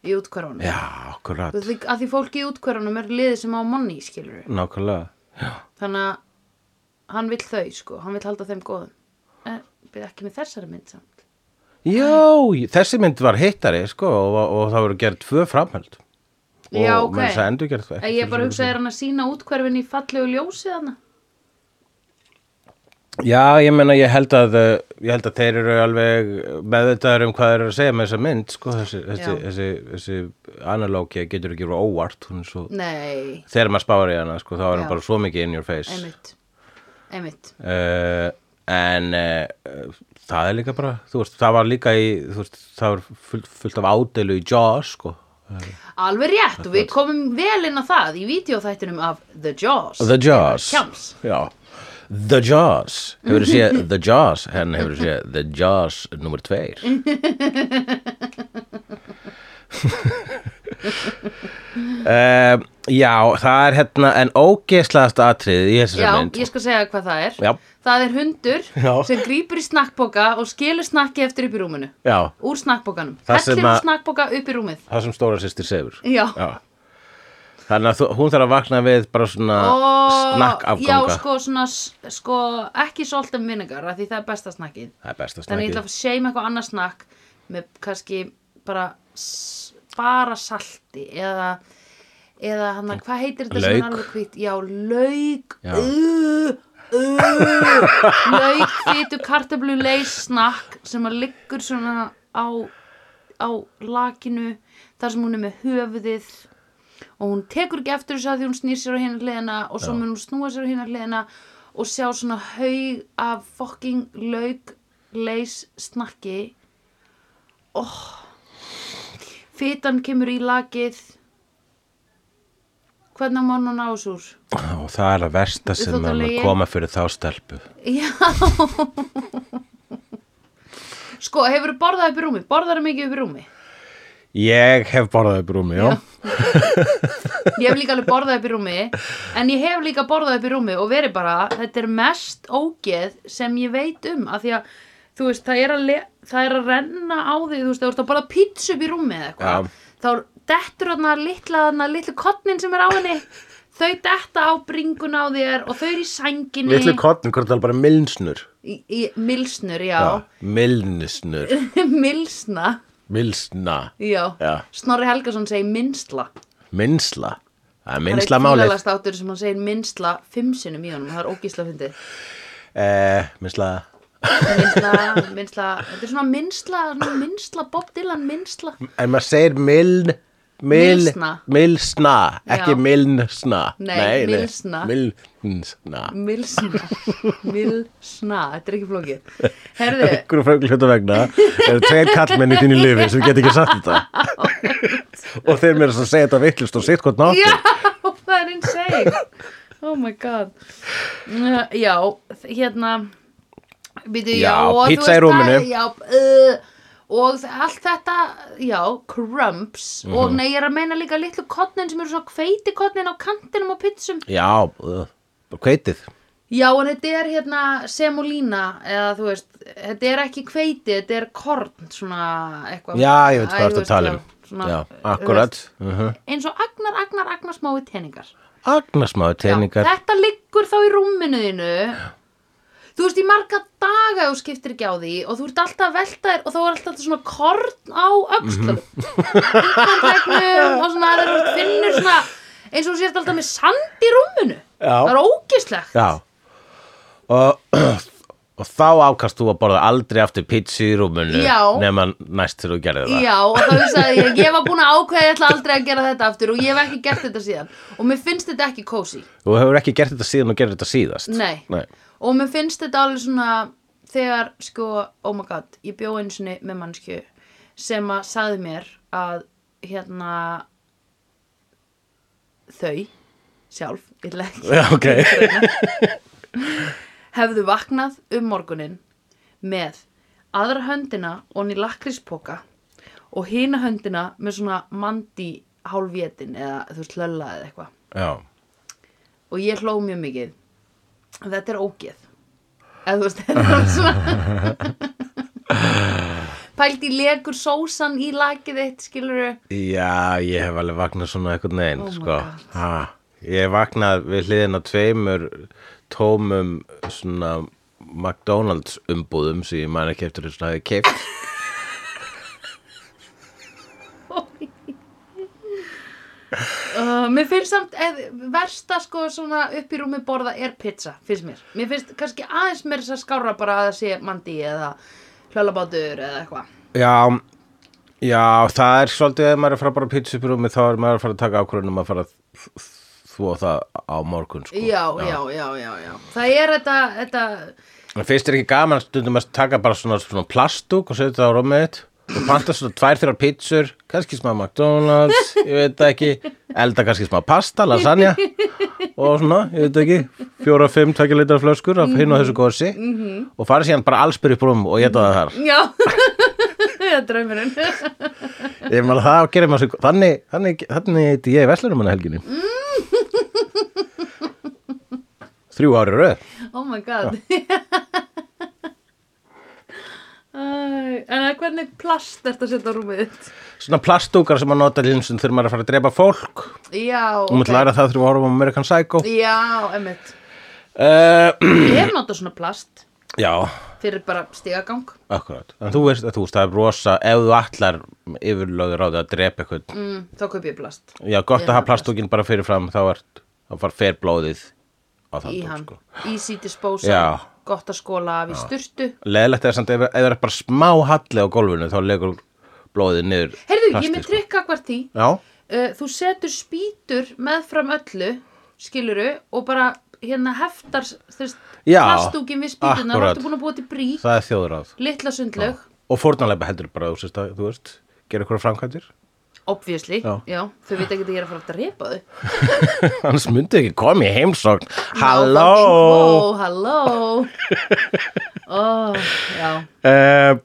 [SPEAKER 2] Í útkvarunum.
[SPEAKER 1] Já, akkurat
[SPEAKER 2] Því, að því fólki í útkvarunum er liðið sem á manni, skilur við.
[SPEAKER 1] Nákvæmlega Já
[SPEAKER 2] Þannig að hann vill þau, sko. Hann vill halda þeim góðum. En, við ekki með þessari mynd samt.
[SPEAKER 1] Já, þessi mynd var hittari sko og, og það voru gerð tvö framhöld og
[SPEAKER 2] Já, ok.
[SPEAKER 1] menn þess að endur gerð
[SPEAKER 2] En ég bara hugsaði hann að sína útkvarfin í fallegu ljósi þarna.
[SPEAKER 1] Já, ég meina, ég held að uh, ég held að þeir eru alveg meðvitaður um hvað þeir eru að segja með þessa mynd sko, þessi,
[SPEAKER 2] Já.
[SPEAKER 1] þessi, þessi, þessi analógia getur ekki verið óvart hún er svo,
[SPEAKER 2] Nei,
[SPEAKER 1] þegar maður spáir í hana sko, þá er
[SPEAKER 2] Já.
[SPEAKER 1] hún bara svo mikið in your face
[SPEAKER 2] einmitt. Einmitt.
[SPEAKER 1] uh, en uh, það er líka bara, þú veist, það var líka í, þú veist, það var fullt, fullt af ádeilu í Jaws sko.
[SPEAKER 2] Alveg rétt og við komum vel inn á það í videóþættinum af The Jaws.
[SPEAKER 1] The Jaws
[SPEAKER 2] Kjams.
[SPEAKER 1] Já The Jaws, hefur þú séð The Jaws henn hefur þú séð The Jaws nummer tveir um, Já, það er hérna en ógeslaðast atrið í þessari
[SPEAKER 2] Já,
[SPEAKER 1] mynd sko.
[SPEAKER 2] ég skal segja hvað það er.
[SPEAKER 1] Já.
[SPEAKER 2] Það er hundur
[SPEAKER 1] Já.
[SPEAKER 2] sem grýpur í snakkboka og skilur snakki eftir upp í rúminu.
[SPEAKER 1] Já,
[SPEAKER 2] Úr snakkbokanum.
[SPEAKER 1] Það
[SPEAKER 2] Hellir
[SPEAKER 1] sem
[SPEAKER 2] úr
[SPEAKER 1] að-
[SPEAKER 2] snakkboka upp í rúmið.
[SPEAKER 1] það sem stóra sýstir segur
[SPEAKER 2] Já.
[SPEAKER 1] Þannig að þú, hún þarf að vakna við bara svona
[SPEAKER 2] Og-
[SPEAKER 1] snakkafganga
[SPEAKER 2] Já, sko, svona, s- sko, ekki salt en vinegar af því það er besta snakkið.
[SPEAKER 1] Það er besta
[SPEAKER 2] Þannig ég ætla
[SPEAKER 1] snakkið
[SPEAKER 2] að seima eitthvað annað snakk með kannski bara, s- bara salti eða, eða hann að, hvað heitir þetta sem er
[SPEAKER 1] Lauk.
[SPEAKER 2] alveg hvít? Já, lauk.
[SPEAKER 1] Já.
[SPEAKER 2] Uh, uh, lauk, fytu, kartablu, leis, snakk sem að liggur svona á á lakinu þar sem hún er með höfuðið og hún tekur ekki eftir þess að því hún snýr sér á hérna hliðina og svo mun hún snúa sér á hérna hliðina og sjá svona haug af fucking lauk leis snakki oh. fitan kemur í lakið hvernig má hún ná þessu úr?
[SPEAKER 1] og það er að versta sem að maður
[SPEAKER 2] Þóttalegi.
[SPEAKER 1] koma fyrir þá stelpu
[SPEAKER 2] Já Sko, hefur borðað upp í rúmi? Borðar mikið upp í rúmi?
[SPEAKER 1] ég hef borðað upp í rúmi, já,
[SPEAKER 2] Ég hef líka alveg borðað upp í rúmi En ég hef líka borðað upp í rúmi og verið bara Þetta er mest ógeð sem ég veit um af Því að, þú veist, það er að, le, það er að renna á því Þú veist, þú veist að borða pítsu upp í rúmi eða
[SPEAKER 1] Já.
[SPEAKER 2] eitthvað Þá dettur þarna litla, þarna litlu kottnin sem er á henni Þau detta á bringuna á þér og þau eru í sænginni
[SPEAKER 1] litlu kottn, hvort það er bara milsnur
[SPEAKER 2] í, í, Milsnur,
[SPEAKER 1] Já,
[SPEAKER 2] já,
[SPEAKER 1] milsnur,
[SPEAKER 2] já. Milsna
[SPEAKER 1] milsna
[SPEAKER 2] Já.
[SPEAKER 1] Já.
[SPEAKER 2] Snorri Helgason segir minnsla.
[SPEAKER 1] minsla, það er
[SPEAKER 2] Það
[SPEAKER 1] minsla
[SPEAKER 2] er
[SPEAKER 1] málið
[SPEAKER 2] fílalast áttur sem hann segir minnsla fimm sinnum í honum. Það er ógísla fyndið.
[SPEAKER 1] eh, minsla
[SPEAKER 2] Minnsla, minnsla, þetta er svona minnsla, svona minnsla, Bob Dylan minnsla.
[SPEAKER 1] en maður segir miln mil,
[SPEAKER 2] Milsna.
[SPEAKER 1] milsna, ekki
[SPEAKER 2] Já.
[SPEAKER 1] milnsna
[SPEAKER 2] Nei, milsna.
[SPEAKER 1] milnsna
[SPEAKER 2] Milsna, milsna, þetta er ekki flókið. Herðu,
[SPEAKER 1] einhverju frönglu hluta vegna eru tveir kallmenn í þínu lifi sem get ekki sagt þetta og þeir mér að segja þetta vittlust og sitt hvort náttu
[SPEAKER 2] já, það er insane. Oh my god. Uh, Já, hérna, býtu, já.
[SPEAKER 1] Já,
[SPEAKER 2] og þú
[SPEAKER 1] pizza
[SPEAKER 2] veist
[SPEAKER 1] í rúminu.
[SPEAKER 2] það- Já, uh, og allt þetta, já, crumbs.
[SPEAKER 1] Mhm.
[SPEAKER 2] Og nei, ég er að meina líka litlu kottnin sem eru svona hveiti á kantinum á pizzum.
[SPEAKER 1] já, uh, bara kveitið
[SPEAKER 2] Já, en þetta er hérna semolína eða þú veist, þetta er ekki hveiti, þetta er korn, svona eitthvað.
[SPEAKER 1] já, ég
[SPEAKER 2] Æ,
[SPEAKER 1] veit hvað
[SPEAKER 2] þú
[SPEAKER 1] ertu að
[SPEAKER 2] veist,
[SPEAKER 1] tala um
[SPEAKER 2] svona, eh,
[SPEAKER 1] já,
[SPEAKER 2] þú
[SPEAKER 1] akkurat
[SPEAKER 2] veist,
[SPEAKER 1] uh -huh.
[SPEAKER 2] Eins og agnar, agnar, agnar smái teningar.
[SPEAKER 1] agnarsmáðu teiningar
[SPEAKER 2] Já, þetta liggur þá í rúminu þínu. Þú veist, í marga daga þú skiptir ekki á því og þú ert alltaf að velta þér og þá er alltaf þetta svona korn á öxlunum. Kornlegnum og svona, það finnur svona, eins og þú sért alltaf með sand í rúminu.
[SPEAKER 1] Já.
[SPEAKER 2] Það er ógislegt.
[SPEAKER 1] Já og, og þá ákast þú að borða aldrei aftur pizza í rúmunu
[SPEAKER 2] Já.
[SPEAKER 1] nema næst til þú gerði það
[SPEAKER 2] Já, og þá hugsaði ég, ég var búin að ákveða ég ætla aldrei að gera þetta aftur og ég hef ekki gert þetta síðan og mér finnst þetta ekki kósi
[SPEAKER 1] þú hefur ekki gert þetta síðan og gerði þetta síðast
[SPEAKER 2] Nei.
[SPEAKER 1] Nei.
[SPEAKER 2] og mér finnst þetta alveg svona þegar sko, oh my god ég bjó einu sinni með mannsku sem að sagði mér að hérna þau sjálf, ég ætla ekki
[SPEAKER 1] Já, ok.
[SPEAKER 2] hefðu vaknað um morgunin með aðra höndina onni lakríspoka og hina höndina með svona mandi hálfvétin eða þú veist lölla eða eitthvað
[SPEAKER 1] Já.
[SPEAKER 2] og ég hló mjög mikið þetta er ógeð eða þú veist þetta er svona pælt í legur sósan í lakið eitt skilur
[SPEAKER 1] Já, ég hef alveg vaknað svona eitthvað neginn
[SPEAKER 2] Oh my
[SPEAKER 1] sko.
[SPEAKER 2] God.
[SPEAKER 1] ha, ég hef vaknað við hliðin á tveimur tómum svona McDonalds umbúðum sem ég man ekki eftir þess að hafi keift
[SPEAKER 2] uh, mér finnst samt eð, versta sko svona upp í rúmi borða er pizza finnst mér, mér finnst kannski aðeins mér þess að skára bara að það sé mandi eða hlölabátur eða eitthvað
[SPEAKER 1] Já, já, það er svolítið ef maður er að fara bara á pítsupirúmi þá er maður að fara að taka ákvörðunum að fara að þvó það á morgun sko.
[SPEAKER 2] já, já, já, já, já það er þetta, þetta
[SPEAKER 1] En finnst þér ekki gaman stundum að taka bara svona, svona plastúk og setja það á rúmið þitt og panta svona tvær þrjár pítsur, kannski smá McDonalds, ég veit það ekki, elda kannski smá pasta, lasagna og svona, ég veit það ekki, fjóra, fimm, tvekja litar flöskur af hinn og þessu gósi og fara síðan bara allsbyrju brúm og geta það þar.
[SPEAKER 2] já, þetta er draumurinn
[SPEAKER 1] Ég meðal það gerir maður svo, þannig, þannig, þannig heiti ég veslarum hann helginni.
[SPEAKER 2] Mm.
[SPEAKER 1] Þrjú ári röð.
[SPEAKER 2] Oh my god Æ, En að hvernig plast ert að setja á rúmið þitt?
[SPEAKER 1] Svona plastúkar sem maður nota til eins og þegar maður er að fara að drepa fólk.
[SPEAKER 2] Já,
[SPEAKER 1] Þú okay. læra það þrjú árum á American Psycho.
[SPEAKER 2] Já, emmitt
[SPEAKER 1] Uh,
[SPEAKER 2] Ég hef notað svona plast
[SPEAKER 1] já,
[SPEAKER 2] fyrir bara stigagang
[SPEAKER 1] akkurat. En þú veist að þú veist, það er rosa, ef þú allar yfirlöður á því að drepa eitthvað.
[SPEAKER 2] mm, Þá kaup ég plast
[SPEAKER 1] Já, gott
[SPEAKER 2] Ég
[SPEAKER 1] að
[SPEAKER 2] er
[SPEAKER 1] hafa plastúkin bara fyrir fram, þá er, þá far fer blóðið á þann
[SPEAKER 2] í
[SPEAKER 1] dúk,
[SPEAKER 2] hann
[SPEAKER 1] sko.
[SPEAKER 2] Easy disposal,
[SPEAKER 1] Já.
[SPEAKER 2] gott að skóla af í sturtu
[SPEAKER 1] leðilegt er samt ef, ef það er bara smá halli á gólfinu þá legur blóðið niður
[SPEAKER 2] Heyrðu, ég er
[SPEAKER 1] plastið,
[SPEAKER 2] með
[SPEAKER 1] sko.
[SPEAKER 2] trikk akvart því
[SPEAKER 1] Já,
[SPEAKER 2] uh, þú setur spýtur meðfram öllu skiluru og bara hérna heftar þess
[SPEAKER 1] Já,
[SPEAKER 2] plastúkin við spýtuna þá
[SPEAKER 1] akkúrat.
[SPEAKER 2] ertu búin að búa til brík,
[SPEAKER 1] það er þjóðráð
[SPEAKER 2] litla sundlög
[SPEAKER 1] og fórnalega heldur bara, þú veist, að, þú veist gera ykkur framkvæmdir,
[SPEAKER 2] obviously, já.
[SPEAKER 1] Já.
[SPEAKER 2] þau veit ekki að ég er að fara að drepa þau
[SPEAKER 1] annars myndi ekki koma í heimsókn
[SPEAKER 2] Ná,
[SPEAKER 1] Halló
[SPEAKER 2] fucking wow, halló ó, já
[SPEAKER 1] uh,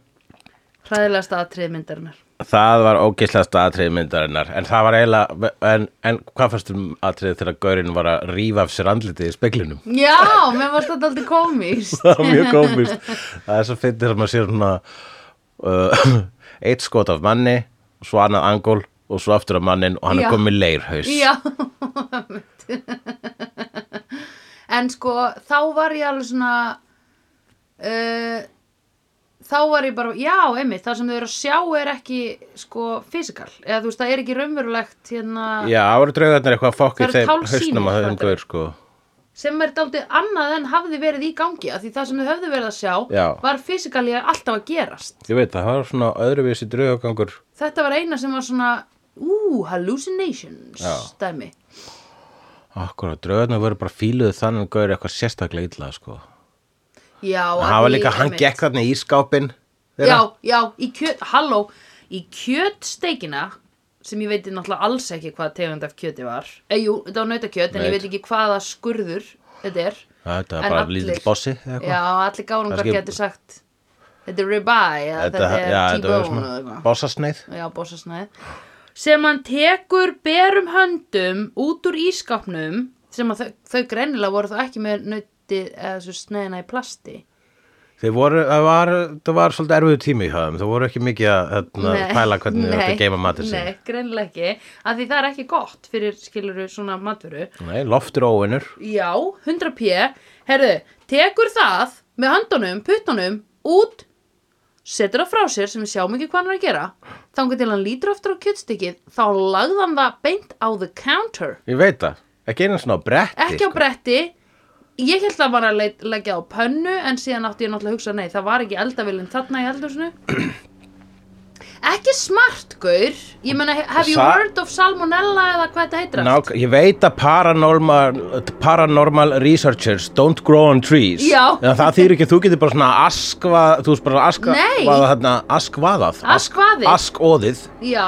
[SPEAKER 2] hræðilegasta atrið myndarinnar
[SPEAKER 1] Það var ógislegasta atrið myndarinnar en það var eiginlega, en, en hvað fannst um atriðið þegar gaurinn var að rífa af sér andlitið í speklinum?
[SPEAKER 2] já, mér varst þetta aldrei komist
[SPEAKER 1] það var mjög komist það er svo fyrir þegar maður sér svona uh, eitt skot af manni svo annað angól og svo aftur af mannin og hann
[SPEAKER 2] Já.
[SPEAKER 1] er komið leirhaus
[SPEAKER 2] já en sko þá var ég alveg svona uh, þá var ég bara, já, einmitt það sem þau eru að sjá er ekki sko fysikal, eða þú veist, það er ekki raunverulegt hérna,
[SPEAKER 1] já, það voru draugarnir eitthvað fokk
[SPEAKER 2] Það
[SPEAKER 1] í
[SPEAKER 2] eru
[SPEAKER 1] þeim
[SPEAKER 2] tálsýnir,
[SPEAKER 1] hausnum að þeim
[SPEAKER 2] fattar
[SPEAKER 1] gaur sko
[SPEAKER 2] sem er dálítið annað en hafði verið í gangi, af því það sem þau höfðu verið að sjá
[SPEAKER 1] Já.
[SPEAKER 2] var fysikalið alltaf að gerast
[SPEAKER 1] ég veit það, það var svona öðruvísi draugagangur
[SPEAKER 2] Þetta var eina sem var svona Ú, hallucinations
[SPEAKER 1] Já.
[SPEAKER 2] dæmi.
[SPEAKER 1] akkurat, draugarnir voru bara fíluð þannig gaur eitthvað sérstaklega illa sko
[SPEAKER 2] Já,
[SPEAKER 1] og
[SPEAKER 2] að
[SPEAKER 1] hann var
[SPEAKER 2] því-
[SPEAKER 1] líka, hann
[SPEAKER 2] einmitt.
[SPEAKER 1] gekk þarna í skápin
[SPEAKER 2] Já, já, í kjöt, halló Í kjötsteikina sem ég veit náttúrulega alls ekki hvað tegund af kjöti var eh, Jú, þetta var nautakjöt en ég
[SPEAKER 1] Veit.
[SPEAKER 2] veit ekki hvaða skurður þetta er
[SPEAKER 1] þetta
[SPEAKER 2] En
[SPEAKER 1] var bara
[SPEAKER 2] allir-
[SPEAKER 1] lítill bossi eða eitthvað.
[SPEAKER 2] Já, allir gárungar
[SPEAKER 1] Kannski-
[SPEAKER 2] getur sagt Þetta er ribeye eða þetta, er
[SPEAKER 1] já, þetta
[SPEAKER 2] t-bone
[SPEAKER 1] var
[SPEAKER 2] eða
[SPEAKER 1] svona
[SPEAKER 2] eitthvað.
[SPEAKER 1] bossasneið
[SPEAKER 2] Já, bósasnæði sem hann tekur berum höndum út úr ískapnum sem að þau, þau greinilega voru þá ekki með nötti eða þessu sneiðina í plasti
[SPEAKER 1] Þeir voru, það var, það var svolítið erfiðu tími í höfum, það voru ekki mikið að hérna, pæla hvernig þau ætti að geima matur
[SPEAKER 2] sig
[SPEAKER 1] sig.
[SPEAKER 2] Nei, greinilega ekki, af því það er ekki gott fyrir skiluru svona matvöru
[SPEAKER 1] Nei. loftur óvinnur.
[SPEAKER 2] Já, 100 p Herðu, tekur það með höndunum, puttunum, út setur það frá sér sem við sjáum ekki hvað hann er að gera þangar til hann lítur aftur á kjötstykkið þá lagði hann það beint á the counter
[SPEAKER 1] Ég veit það, ekki einu svona á bretti.
[SPEAKER 2] ekki á bretti ég held að var að leit- leggja á pönnu en síðan átti ég náttúrulega að hugsa nei, það var ekki eldavillin þarna í eldursinu ekki smart, gaur ég meina, have you
[SPEAKER 1] Sa-
[SPEAKER 2] heard of salmonella eða hvað þetta heitir allt?
[SPEAKER 1] Ná, ég veit að paranormal, paranormal researchers don't grow on trees.
[SPEAKER 2] Já.
[SPEAKER 1] En það þýr ekki, þú getur bara svona askvað, þú veist bara askvað,
[SPEAKER 2] Nei.
[SPEAKER 1] hérna, askvaðað.
[SPEAKER 2] Askvaðið.
[SPEAKER 1] Askóðið.
[SPEAKER 2] já,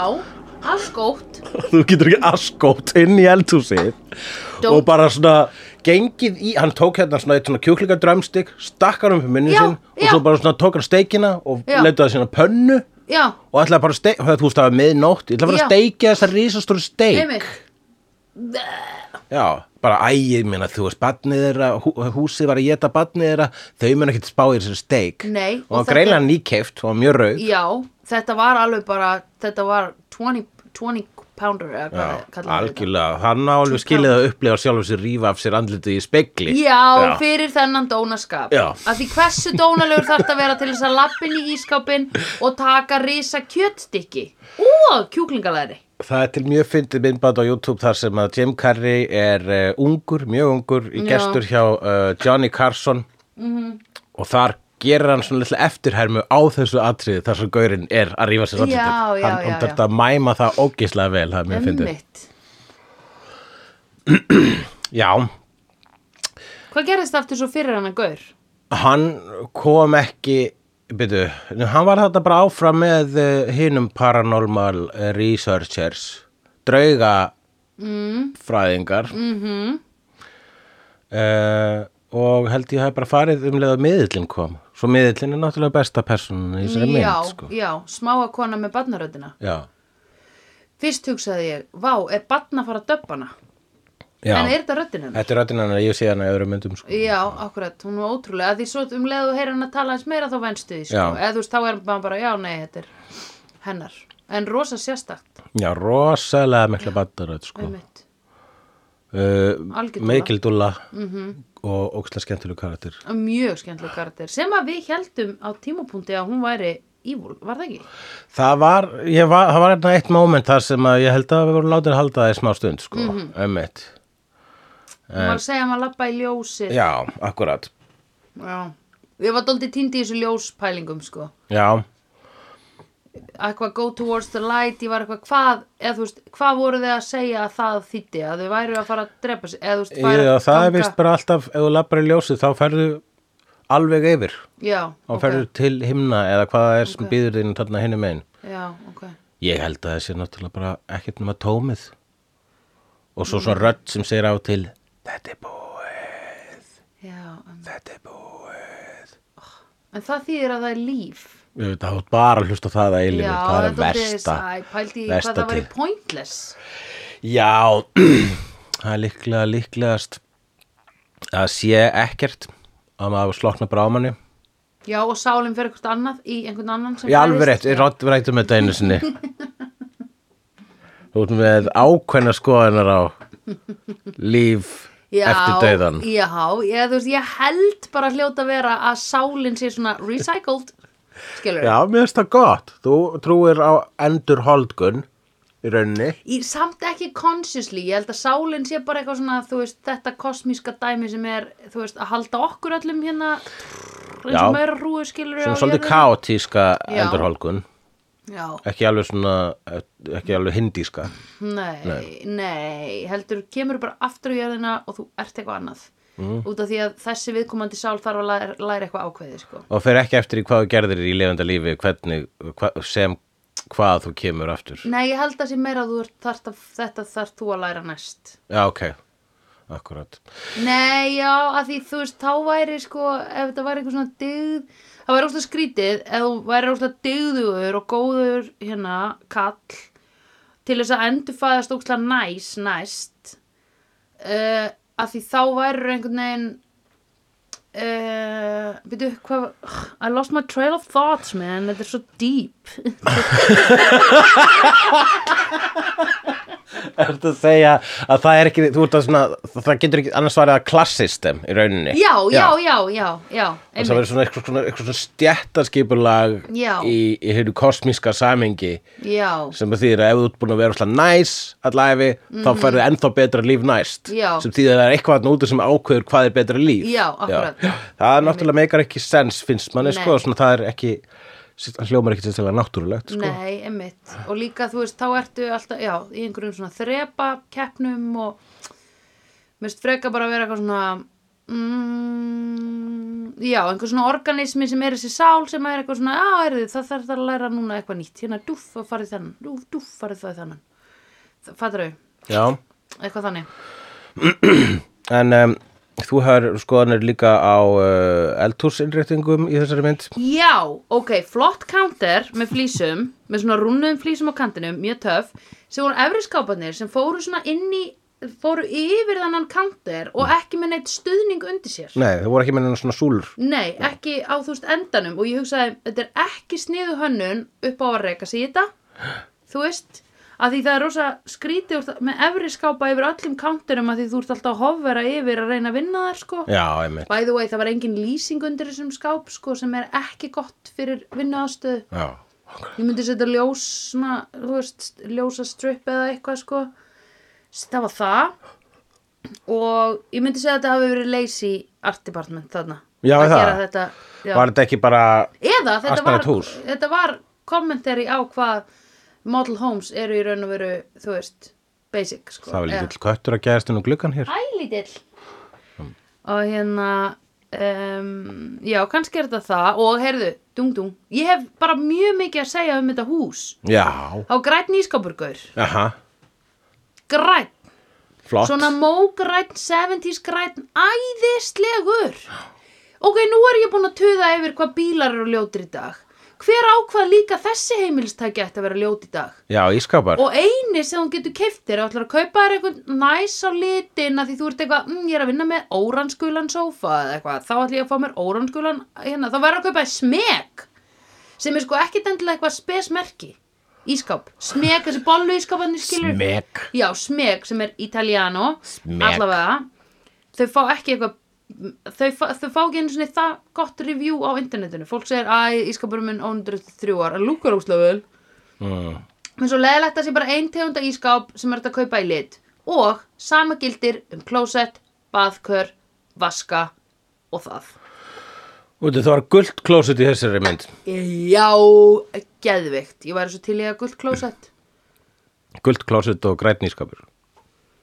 [SPEAKER 2] afskótt
[SPEAKER 1] þú getur ekki askótt inn í eldhúsið
[SPEAKER 2] Dó-
[SPEAKER 1] og bara svona gengið í, hann tók hérna svona eitt svona kjúklingadrömstik, stakk hann um fyrir minni
[SPEAKER 2] Já,
[SPEAKER 1] sinn og
[SPEAKER 2] já.
[SPEAKER 1] svo bara svona tók hann steikina og
[SPEAKER 2] Já.
[SPEAKER 1] leitaði sína pönnu
[SPEAKER 2] já,
[SPEAKER 1] og ætlaði bara að steikja, þú veist það var miðnótt, ég ætlaði bara
[SPEAKER 2] Já.
[SPEAKER 1] að steikja þessar rísastóru steik
[SPEAKER 2] einmitt
[SPEAKER 1] Já, bara ægið minna, þú veist, badnið þeirra, hú, húsið var að geta badnið þeirra, þau mun ekkert spá í þessari steik
[SPEAKER 2] Nei, og
[SPEAKER 1] og, og
[SPEAKER 2] þetta-
[SPEAKER 1] greinlega nýkeift og mjög rauð
[SPEAKER 2] já, þetta var alveg bara þetta var 20, 20 pounder eða hvað
[SPEAKER 1] Já,
[SPEAKER 2] kallar maður þetta?
[SPEAKER 1] algjörlega, hann á alveg skilið að upplega sjálfur sér rífa af sér andlitið í spegli
[SPEAKER 2] Já, fyrir þennan dónaskap
[SPEAKER 1] Já.
[SPEAKER 2] Af því hversu dónalegur þarf þetta að vera til þess að lappin í ískapin og taka risa kjötstykki og kjúklingalæri
[SPEAKER 1] Það er til mjög fyndið myndband á YouTube þar sem að Jim Carrey er uh, ungur, mjög ungur,
[SPEAKER 2] Já.
[SPEAKER 1] í
[SPEAKER 2] Mhm.
[SPEAKER 1] gestur hjá uh, Johnny Carson og þar gerir hann svona litla eftirhermu á þessu atriði þar sem gaurinn er að rífa
[SPEAKER 2] Já,
[SPEAKER 1] sér andlitið.
[SPEAKER 2] já,
[SPEAKER 1] Hann-
[SPEAKER 2] já,
[SPEAKER 1] Hann
[SPEAKER 2] já.
[SPEAKER 1] þarf að mæma það ógislega vel, það er mjög fyndið.
[SPEAKER 2] Ummitt
[SPEAKER 1] Já,
[SPEAKER 2] Hvað gerðist aftur svo fyrir hann að gaur?
[SPEAKER 1] hann kom ekki, byrju, hann var þetta bara áfram með uh, hinum paranormal eh, researchers, drauga fræðingar mm
[SPEAKER 2] Mm-hmm.
[SPEAKER 1] og held ég hafi bara farið um leið að miðillin kom svo miðillin er náttúrulega besta personan í þessari mynd
[SPEAKER 2] já,
[SPEAKER 1] sko.
[SPEAKER 2] já, smáa kona með barnaröddina
[SPEAKER 1] já,
[SPEAKER 2] Fyrst hugsaði ég, vá, er barn að fara að döbba hana?
[SPEAKER 1] já.
[SPEAKER 2] En er þetta röddin hennar?
[SPEAKER 1] þetta er röddinn hennar ég sé hana í öðrum myndum sko.
[SPEAKER 2] Já, akkurat, hún var ótrúlega Af Því svo um leiðu heyra hann að tala eins meira þá venstu því sko.
[SPEAKER 1] Já.
[SPEAKER 2] Eða þú veist, þá er maður bara, já, nei, þetta er hennar En rosa sérstakt,
[SPEAKER 1] já, rosalega mikla bandaröð sko.
[SPEAKER 2] ummitt
[SPEAKER 1] uh,
[SPEAKER 2] Algjör dúlla.
[SPEAKER 1] Meikil Dúlla
[SPEAKER 2] Mm-hmm.
[SPEAKER 1] og ókslega skemmtileg karakter
[SPEAKER 2] mjög skemmtileg karakter sem að við heldum á tímapunkti að hún væri evil, var það ekki?
[SPEAKER 1] Það var, ég var, það var hérna eitt moment þar sem að ég held að við vorum látið að halda það í smá stund, sko, mm
[SPEAKER 2] Mhm. Hún
[SPEAKER 1] Eh.
[SPEAKER 2] var að segja að maður lappa í ljósi
[SPEAKER 1] Já, akkurat.
[SPEAKER 2] Já. Ég var dóldi týndi í þessu ljóspælingum sko
[SPEAKER 1] Já,
[SPEAKER 2] eitthvað go towards the light ég var eitthvað hvað, eða þú veist hvað voru þið að segja að það þýtti að þau væru að fara að drepa sig eða þú veist fara
[SPEAKER 1] Ég,
[SPEAKER 2] að
[SPEAKER 1] það er
[SPEAKER 2] ganga-
[SPEAKER 1] vist bara alltaf, ef þú lappar í ljósið þá ferðu alveg yfir
[SPEAKER 2] já,
[SPEAKER 1] og
[SPEAKER 2] ok,
[SPEAKER 1] ferðu til himna eða hvað það er sem býður þín þarna hinu megin.
[SPEAKER 2] já, ok
[SPEAKER 1] Ég held að það sé náttúrulega bara ekkert nema tómið og svo
[SPEAKER 2] Mhm.
[SPEAKER 1] svona rödd sem segir á til Þetta er búið,
[SPEAKER 2] já, um, Oh.
[SPEAKER 1] þetta er búið
[SPEAKER 2] en það þýðir að það er líf
[SPEAKER 1] Ég veit að þú ert bara að hlusta á það að eilífu,
[SPEAKER 2] já,
[SPEAKER 1] það er
[SPEAKER 2] þetta er
[SPEAKER 1] versta
[SPEAKER 2] æ, pældi ég
[SPEAKER 1] versta
[SPEAKER 2] hvað það væri
[SPEAKER 1] til.
[SPEAKER 2] pointless
[SPEAKER 1] Já, það er líklega líklegast að sé ekkert að maður slokna bara á manni
[SPEAKER 2] já, og sálinn fyrir eitthvað annað í einhvern annan sem
[SPEAKER 1] Ég alveg rétt,
[SPEAKER 2] fæðist.
[SPEAKER 1] ég rátt rættum þetta einu sinni Þú ert með ákveðna skoðanar á líf
[SPEAKER 2] já,
[SPEAKER 1] eftir dauðan
[SPEAKER 2] já, ég, þú veist, ég held bara hljóta að vera að sálinn sé svona recycled skilur
[SPEAKER 1] Já, mér finnst það gott. Þú trúir á endur holdgun í rauninni.
[SPEAKER 2] í, samt ekki consciously, ég held að sálinn sé bara eitthvað svona, þú veist, þetta kosmíska dæmi sem er, þú veist, að halda okkur öllum hérna, eins
[SPEAKER 1] Já.
[SPEAKER 2] og meira rúi skilur
[SPEAKER 1] Svona svolítið kaotíska
[SPEAKER 2] Já.
[SPEAKER 1] endur holdgun.
[SPEAKER 2] Já,
[SPEAKER 1] Ekki alveg svona, ekki alveg hindíska.
[SPEAKER 2] nei, nei, heldur, kemur bara aftur á jörðina og þú ert eitthvað annað mm. út af því að þessi viðkomandi sál þarf að læra, læra eitthvað ákveðið, sko
[SPEAKER 1] Og fer ekki eftir í hvað þú gerðir í lifenda lífi, hvernig, hva, sem hvað þú kemur aftur.
[SPEAKER 2] Nei, ég held að sé meira að þú þart að, þetta þarf þú að læra næst
[SPEAKER 1] Já, ok. Akkurat.
[SPEAKER 2] Nei, já, að því þú veist, þá væri sko, ef þetta væri eitthvað svona dyggð, það væri óslega skrítið, ef þú væri óslega dyggðugur og góður, hérna, kall, til þess að endurfæðast óslega næs, næst, uh, að því þá væri einhvern veginn, uh, byrju, hvað, I lost my trail of thoughts, man, þetta er svo deep.
[SPEAKER 1] Ertu að segja að það er ekki, þú ert að svona, það getur ekki annars svarið að klassistem í rauninni.
[SPEAKER 2] Já, já, já, já, já,
[SPEAKER 1] Þess að
[SPEAKER 2] einmitt,
[SPEAKER 1] vera svona eitthvað svona, eitthvað svona stjættaskipulag
[SPEAKER 2] Já.
[SPEAKER 1] í, í hérna kosmíska samengi
[SPEAKER 2] já.
[SPEAKER 1] sem að þýðir að ef þú ert búin að vera alltaf næs allæfi, þá færðu ennþá betra líf næst
[SPEAKER 2] Mhm. Já.
[SPEAKER 1] sem þýðir að það er eitthvað þarna úti sem ákveður hvað er betra líf
[SPEAKER 2] Já, akkúrat.
[SPEAKER 1] það er náttúrulega meikar ekki sens finnst manni
[SPEAKER 2] Nei.
[SPEAKER 1] sko, svona, það er ekki það hljómar ekki sérstaklega náttúrulegt sko.
[SPEAKER 2] Nei, einmitt. Og líka, þú veist, þá ertu alltaf, já, í einhverjum svona þrepa keppnum og mér finnst freka bara að vera eitthvað svona mm, já, einhver svona organismi sem er þessi sál sem er eitthvað svona, já, er þið, það þarf að læra núna eitthvað nýtt, hérna dúff og farið þennan dúff, dúff, farið það í þennan fattur þau,
[SPEAKER 1] Já.
[SPEAKER 2] eitthvað þannig
[SPEAKER 1] en um, þú hefur skoðanir líka á uh, eldhúsinnréttingum í þessari mynd
[SPEAKER 2] Já, ok, flott counter með flísum, með svona rúnum flísum á kantinum, mjög töff, sem voru efri skápanir sem fóru svona inn í, fóru yfir þannan counter og ekki með neitt stuðning undir sér.
[SPEAKER 1] Nei, það voru ekki meina svona súlur
[SPEAKER 2] Nei, ekki á þú veist endanum og ég hugsaði, þetta er ekki sniðu hönnun upp á að reyka sig í þetta, þú veist, að því það er rosa skrítið úr það- með efri skápa yfir öllum counterum að því þú ert alltaf að hofvera yfir að reyna að vinna þær sko.
[SPEAKER 1] Já, einmitt
[SPEAKER 2] By the way, það var engin lýsing undir þessum skáp sko, sem er ekki gott fyrir vinnuaðstöðu.
[SPEAKER 1] Já.
[SPEAKER 2] Ég myndi setja ljós, svona, þú veist, ljósa strip eða eitthvað sko. Það var það. Og ég myndi segja að þetta hafi verið lazy art department þarna.
[SPEAKER 1] Já,
[SPEAKER 2] að
[SPEAKER 1] það.
[SPEAKER 2] gera þetta. Já.
[SPEAKER 1] Var þetta ekki bara
[SPEAKER 2] Eða þetta var,
[SPEAKER 1] Astronauts hús?
[SPEAKER 2] þetta var kommentari á hvað model homes eru í raun og veru, þú veist, basic sko.
[SPEAKER 1] Það var
[SPEAKER 2] Eða-
[SPEAKER 1] lítill köttur að gæðast inn á gluggan hér.
[SPEAKER 2] Hælítill Og hérna um, Já, kannski er þetta það Og heyrðu, dung dung Ég hef bara mjög mikið að segja um þetta hús
[SPEAKER 1] Já.
[SPEAKER 2] Á grætt nýskapurgaur
[SPEAKER 1] Aha,
[SPEAKER 2] Grætt,
[SPEAKER 1] flott.
[SPEAKER 2] svona mógrætt 70s grætt, æðislegur Ok, nú er ég búin að tuða yfir hvað bílar eru ljótir í dag Hver ákvað líka þessi heimilstæki ætti að vera ljót í dag?
[SPEAKER 1] Já, ískapar.
[SPEAKER 2] og eini sem hún getur keift þér og ætlar að kaupa þér einhvern næs á litin að því þú ert eitthvað, mm, ég er að vinna með óranskulan sófa eða eitthvað, þá ætla ég að fá mér óranskulan hérna, þá verður að kaupa þér smeg sem er sko ekkit endilega eitthvað spesmerki ískáp, smeg, þessi bollu ískápanir skilur
[SPEAKER 1] Smeg.
[SPEAKER 2] já, smeg sem er italiano
[SPEAKER 1] Smeg.
[SPEAKER 2] allavega, þau fá ekki eitthvað þau fá, þau fá ekki einu svona það gott review á internetinu fólk segir, æ, ískapurum minn 103 ára lúkar óslega vel
[SPEAKER 1] Mm.
[SPEAKER 2] En svo leðilegt að sé bara ein tegunda ískáp sem er hægt að kaupa í lit. Og sama gildir um klósett, baðkör, vaska og það.
[SPEAKER 1] Úti, það var gullt klósit í þessari mynd.
[SPEAKER 2] Já, geðveikt ég væri svo til í að gult klósett
[SPEAKER 1] Gult klósett og grænt nýskapur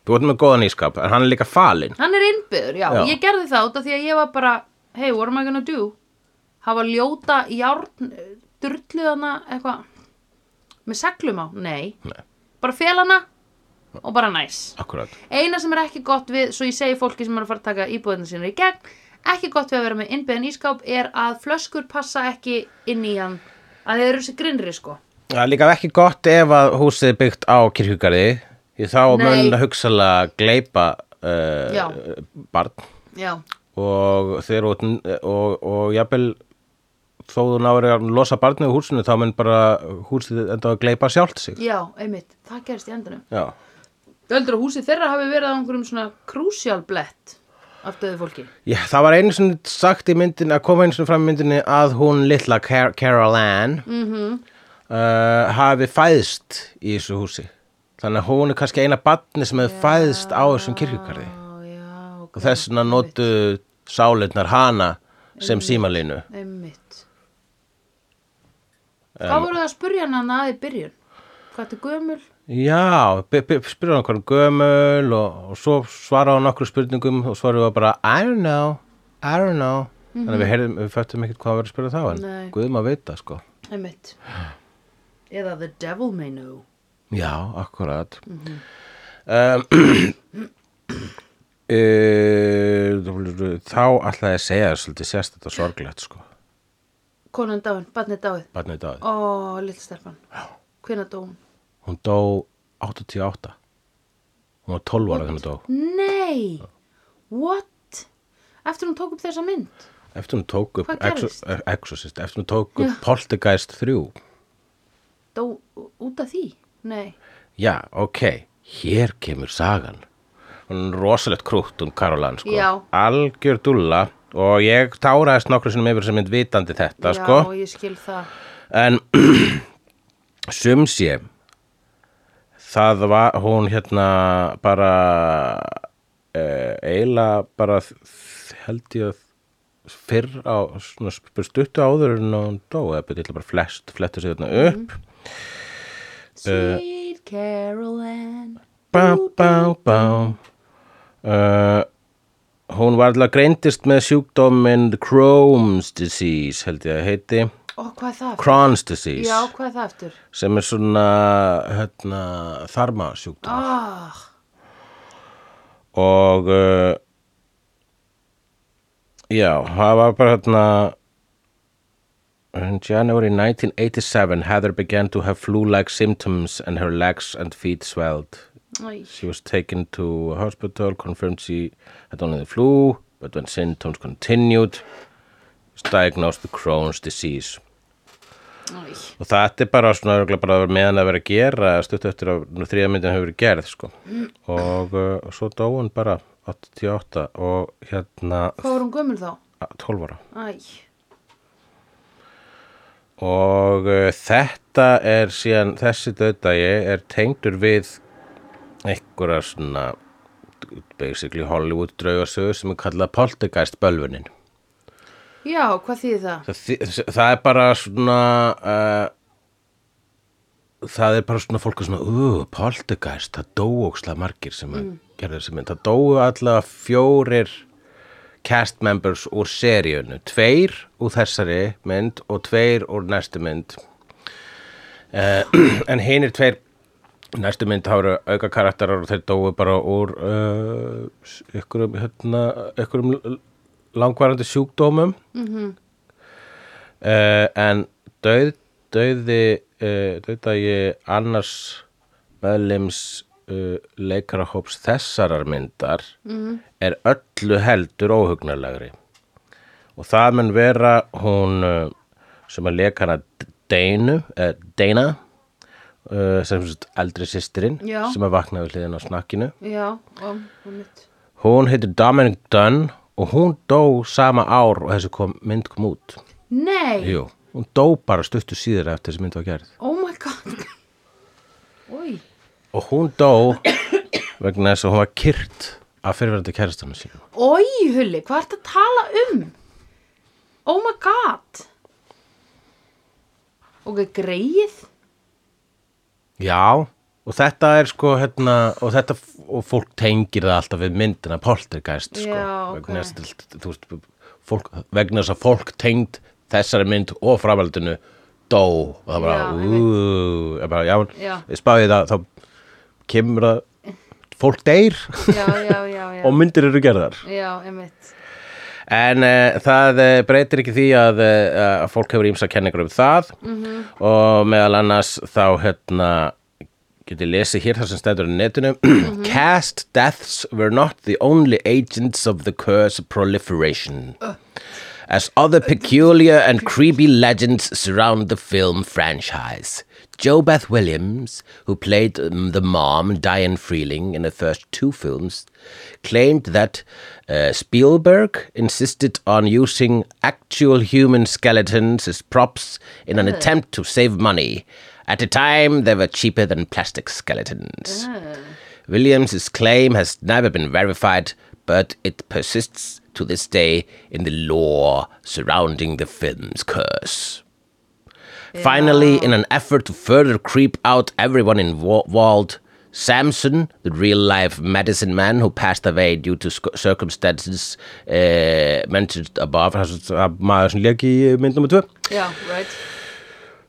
[SPEAKER 1] Þú ert með góða nýskap, en hann er líka falinn
[SPEAKER 2] hann er innbyður, já,
[SPEAKER 1] Já.
[SPEAKER 2] ég gerði það út af því að ég var bara hey, what am I gonna do hafa ljóta járn durluðana eitthvað með seglum á, nei,
[SPEAKER 1] Nei.
[SPEAKER 2] bara felana og bara næs
[SPEAKER 1] Akkurat
[SPEAKER 2] eina sem er ekki gott við, svo ég segi fólki sem er að fara að taka íbúðina sína í gegn ekki gott við að vera með innbyðan ískáp er að flöskur passa ekki inn í hann að þeir eru sér grinnri sko
[SPEAKER 1] Það er líka ekki gott ef að húsið er byggt á kirkjugarði Því þá
[SPEAKER 2] Nei.
[SPEAKER 1] mun það hugsalega gleipa uh,
[SPEAKER 2] Já.
[SPEAKER 1] barn
[SPEAKER 2] já,
[SPEAKER 1] og þeir út og, og jafnvel þó þú náir að losa barnið úr húsinu þá mun bara húsið enda að gleipa sjálft sig
[SPEAKER 2] já, einmitt, það gerist í endunum
[SPEAKER 1] Já,
[SPEAKER 2] Þú heldur að húsið þeirra hafi verið á einhverjum svona krúsjál blett af döðu fólki?
[SPEAKER 1] Já, það var einu svona sagt í myndin að koma einu svona fram í myndinni að hún litla Car Carol Ann uh, hafi fæðst í þessu húsi þannig að hún er kannski eina barni sem hefði fæðst á þessum kirkjugarði
[SPEAKER 2] Já, já, ok.
[SPEAKER 1] og þess vegna notu sálinnar hana sem símalínu
[SPEAKER 2] Einmitt. Hvað voru það að spurja hann að í byrjun? Hvað þetta gömul?
[SPEAKER 1] Já, b- b- spurði hann hvernig gömul og, og svo svaraði hann okkur spurningum og svaraði hann bara I don't know, I don't know þannig að við, heyrðum, við föttum ekkert hvað að vera að spyrja þá
[SPEAKER 2] Nei.
[SPEAKER 1] en guðum að vita sko
[SPEAKER 2] Einmitt. Eða the devil may know.
[SPEAKER 1] Já, akkurat
[SPEAKER 2] Mhm.
[SPEAKER 1] um, uh, Þá ætlaði ég að segja þér svolítið sérstætt og sorglegt sko
[SPEAKER 2] Konan dáin, barnið dáið.
[SPEAKER 1] Barnið dáði,
[SPEAKER 2] Ó, lill stelpan. Hvenær dó hún?
[SPEAKER 1] hún dó 88 Hún var 12 ára þegar hún dó
[SPEAKER 2] Nei! What? Eftir hún tók upp þessa mynd?
[SPEAKER 1] Eftir hún tók upp
[SPEAKER 2] Hvað
[SPEAKER 1] Exo-
[SPEAKER 2] gerðist?
[SPEAKER 1] eh, Exorcist, eftir hún tók upp Poltergeist 3
[SPEAKER 2] Dó út af því? Nei.
[SPEAKER 1] Já, ok, hér kemur sagan Hún er rosalegt krútt um Karolan sko
[SPEAKER 2] Já.
[SPEAKER 1] Algjör dúlla og ég táraðist nokkru sinum yfir sem mynd vitandi þetta sko Eh,
[SPEAKER 2] Já, ég skil það.
[SPEAKER 1] En sum sé það var hún hérna bara eh, eiginlega bara þ- held ég að fyrr á svona sp- stuttu áður en hún dó eða betur bara flest flettu sig þarna upp
[SPEAKER 2] Sweet Carol Ann
[SPEAKER 1] bá bá bá uh, hún var alltaf greindist með sjúkdóminn Crohn's disease held ég að heiti
[SPEAKER 2] Ó, hvað er það? aftur?
[SPEAKER 1] Crohn's disease
[SPEAKER 2] Já, hvað er það eftir?
[SPEAKER 1] sem er svona hérna, þarma sjúkdómur
[SPEAKER 2] Ah,
[SPEAKER 1] og uh, já, það var bara hérna In January 1987, Heather began to have flu-like symptoms and her legs and feet swelled.
[SPEAKER 2] æ,
[SPEAKER 1] She was taken to a hospital, confirmed she had only the flu, but when symptoms continued, she was diagnosed with Crohn's disease.
[SPEAKER 2] æ,
[SPEAKER 1] og þetta er bara svona örugglega bara meðan að vera að gera stutt eftir að þriðamyndin hefur verið gerð sko. og uh, svo dó hún bara 88 og hérna
[SPEAKER 2] hvað var hún gömul þá?
[SPEAKER 1] 12 ára
[SPEAKER 2] Æ,
[SPEAKER 1] og uh, þetta er síðan þessi döðdagi er tengdur við einhverja svona basically Hollywood draugasögu sem er kallað Poltergeist bölvunin
[SPEAKER 2] já, hvað þýðir það?
[SPEAKER 1] það, þi- það er bara svona uh, það er bara svona fólk er svona, uh, poltergeist það dóu ókslega margir sem mm. gerðu þessi mynd, það dóu allavega fjórir cast members úr seríunu, tveir úr þessari mynd og tveir úr næstu mynd uh, en hinir tveir næstu mynd það eru auka karakterar og þeir dóu bara úr uh, s- ykkurum, hérna, ykkurum l- langvarandi sjúkdómum uh, en döð, döði uh, döðdagi annars meðlims uh, leikarahóps þessarar myndar er öllu heldur óhugnarlegri og það mun vera hún uh, sem að leika hana Deinu, uh, Deina uh, sem sagt eldri systirinn
[SPEAKER 2] Já.
[SPEAKER 1] sem að vakna við hliðin á snakkinu
[SPEAKER 2] Já, og, og mitt.
[SPEAKER 1] hún heitir Dominic Dunn og hún dó sama ár og þessi kom, mynd kom út
[SPEAKER 2] Nei,
[SPEAKER 1] Jú, hún dó bara stuttu síður eftir þessi mynd var gerð.
[SPEAKER 2] oh my god. Új,
[SPEAKER 1] Og hún dó vegna þess að hún var kyrt af fyrirverandi kærastanum sínum.
[SPEAKER 2] új, Hulli, hvað ertu að tala um? Oh my god. ok, greið
[SPEAKER 1] Já, og þetta er sko hérna, og þetta, og fólk tengir það alltaf við myndina poltergeist sko,
[SPEAKER 2] Já, ok.
[SPEAKER 1] vegna þess að, þú veist, fólk, vegna þess að fólk tengd þessari mynd og framhaldinu dó, og það bara,
[SPEAKER 2] Já,
[SPEAKER 1] úúú, bara, já,
[SPEAKER 2] Já.
[SPEAKER 1] ég spáði það, þá kemur það, fólk deyr
[SPEAKER 2] já, já, já, já,
[SPEAKER 1] og myndir eru gerðar.
[SPEAKER 2] já, einmitt
[SPEAKER 1] En uh, það uh, breytir ekki því að, uh, að fólk hefur ímsa kenningar um það og meðal annars þá hérna getið lesið hér þar sem stendur á netinu Cast deaths were not the only agents of the curse proliferation as other peculiar and creepy legends surround the film franchise. Jo Beth Williams, who played um, the mom, Diane Freeling, in the first two films, claimed that uh, Spielberg insisted on using actual human skeletons as props in an attempt to save money. At the time, they were cheaper than plastic skeletons. Williams' claim has never been verified, but it persists to this day in the lore surrounding the film's curse. Finally, in an effort to further creep out everyone involved, Samson, the real life medicine man who passed away due to sc- circumstances uh, mentioned above, það er svo- það er maður sem leik í eh, mynd nummer 2,
[SPEAKER 2] já, right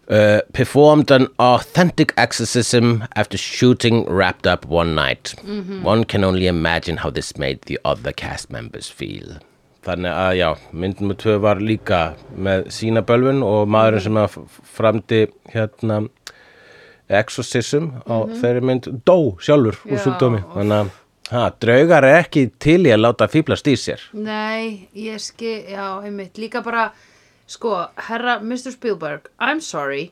[SPEAKER 1] uh, performed an authentic exorcism after shooting wrapped up one night. One can only imagine how this made the other cast members feel. Þannig að já, myndin með tvö var líka með sína bölvun og maðurinn sem að f- framdi hérna exorcism á þeirri mynd dó sjálfur úr
[SPEAKER 2] Já,
[SPEAKER 1] sjúkdómi.
[SPEAKER 2] óff.
[SPEAKER 1] Þannig að ha, draugar er ekki til í að láta fýblast í sér.
[SPEAKER 2] Nei, ég skil, já, einmitt, líka bara, sko, herra Mr. Spielberg, I'm sorry,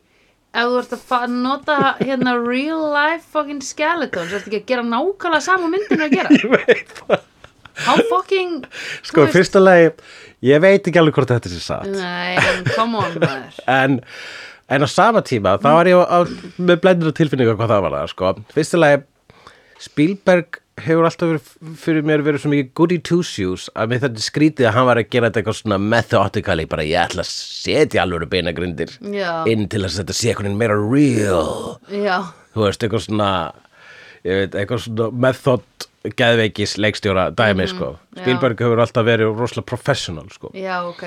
[SPEAKER 2] ef þú ert að fa- nota hérna real life fucking skeletons, ertu ekki að gera nákvæmlega sama myndinu að gera?
[SPEAKER 1] Ég veit það.
[SPEAKER 2] How fucking,
[SPEAKER 1] Sko, fyrsta lagi, ég veit ekki alveg hvort þetta sé satt.
[SPEAKER 2] Nei, come on, maður.
[SPEAKER 1] en, en á sama tíma þá var ég á, á, með blendinu tilfinningu hvað það var það sko. fyrstilega Spielberg hefur alltaf verið fyrir mér verið svo mikið goody two shoes að mér þetta skrítið að hann var að gera þetta eitthvað svona methodically bara ég ætla að setja alveg beina grindir
[SPEAKER 2] Já.
[SPEAKER 1] inn til að þetta sé eitthvað meira real
[SPEAKER 2] Já,
[SPEAKER 1] þú veist eitthvað svona ég veit eitthvað svona method geðveikis leikstjóra dæmi sko
[SPEAKER 2] Mhm. já.
[SPEAKER 1] Spielberg hefur alltaf verið rosalega professional sko
[SPEAKER 2] já, ok,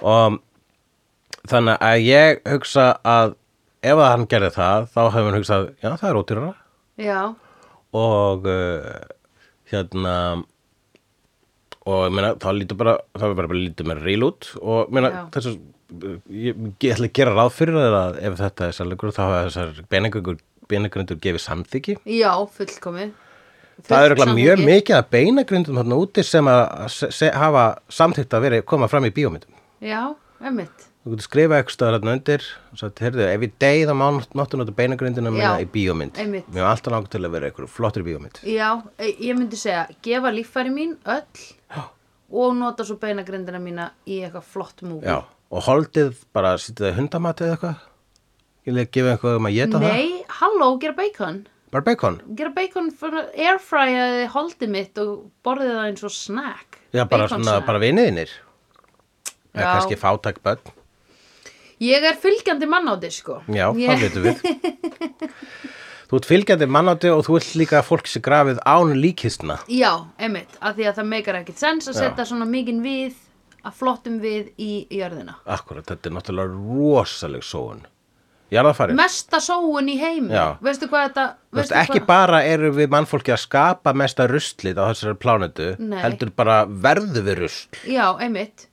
[SPEAKER 1] og þannig að ég hugsa að ef að hann gerði það þá hefur hann hugsað, já það er ódýrara
[SPEAKER 2] já,
[SPEAKER 1] og uh, hérna og ég meina þá lítur bara þá er bara, bara lítur með real út og ég meina
[SPEAKER 2] Já.
[SPEAKER 1] þessu ég, ég ætla að gera ráð fyrir það að ef þetta er sérleikur þá hefur þessar beinagöngur beinagröndur gefið samþyggi
[SPEAKER 2] já, fullkomið.
[SPEAKER 1] það
[SPEAKER 2] Fullt
[SPEAKER 1] er örugglega mjög
[SPEAKER 2] samhengi.
[SPEAKER 1] mikið að beinagröndum þarna úti sem að se, se, hafa samþykkt að vera koma fram í bíómyndum
[SPEAKER 2] Já, einmitt,
[SPEAKER 1] Þú getur skrifað eitthvað staðar hérna undir og sagt, heyrðu, ef ég deyð þá má máttu nota beinagrindina minna
[SPEAKER 2] Já,
[SPEAKER 1] í bíómynd.
[SPEAKER 2] einmitt.
[SPEAKER 1] Mér var alltaf langt til að vera eitthvað flottir bíómynd.
[SPEAKER 2] já, e- ég myndi segja, gefa líffæri mín öll og nota svo beinagrindina mína í eitthvað flott múfi.
[SPEAKER 1] Já, og holdið bara sýttið það hundamati eða eitthvað. Ég leik gefa eitthvað um að geta það.
[SPEAKER 2] Nei, halló, gera bacon
[SPEAKER 1] Bara bacon.
[SPEAKER 2] Gera bacon fyrir airfryaði holdið mitt og borðið það eins og snack
[SPEAKER 1] Já, bara,
[SPEAKER 2] Bacon
[SPEAKER 1] svona,
[SPEAKER 2] snack.
[SPEAKER 1] bara viniðinir. Eða
[SPEAKER 2] Já.
[SPEAKER 1] kannski fátæk börn.
[SPEAKER 2] Ég er fylgjandi mann á þig sko
[SPEAKER 1] Já,
[SPEAKER 2] ég,
[SPEAKER 1] það veitum við. þú ert fylgjandi mannátti og þú ert líka að fólk sé grafið án líkistna.
[SPEAKER 2] Já, einmitt, af því að það meikar ekkit sens að
[SPEAKER 1] Já.
[SPEAKER 2] setja svona mikinn við að flottum við í jörðina
[SPEAKER 1] Akkurat, þetta er náttúrulega rosaleg sóun. Jarðafarin.
[SPEAKER 2] Mesta sóun í heimi
[SPEAKER 1] Já.
[SPEAKER 2] Veistu hvað þetta
[SPEAKER 1] Þú veist, ekki
[SPEAKER 2] hvað?
[SPEAKER 1] bara eru við mannfólki að skapa mesta ruslið á þessari plánetu,
[SPEAKER 2] Nei.
[SPEAKER 1] heldur bara verðu við rusl.
[SPEAKER 2] Já, einmitt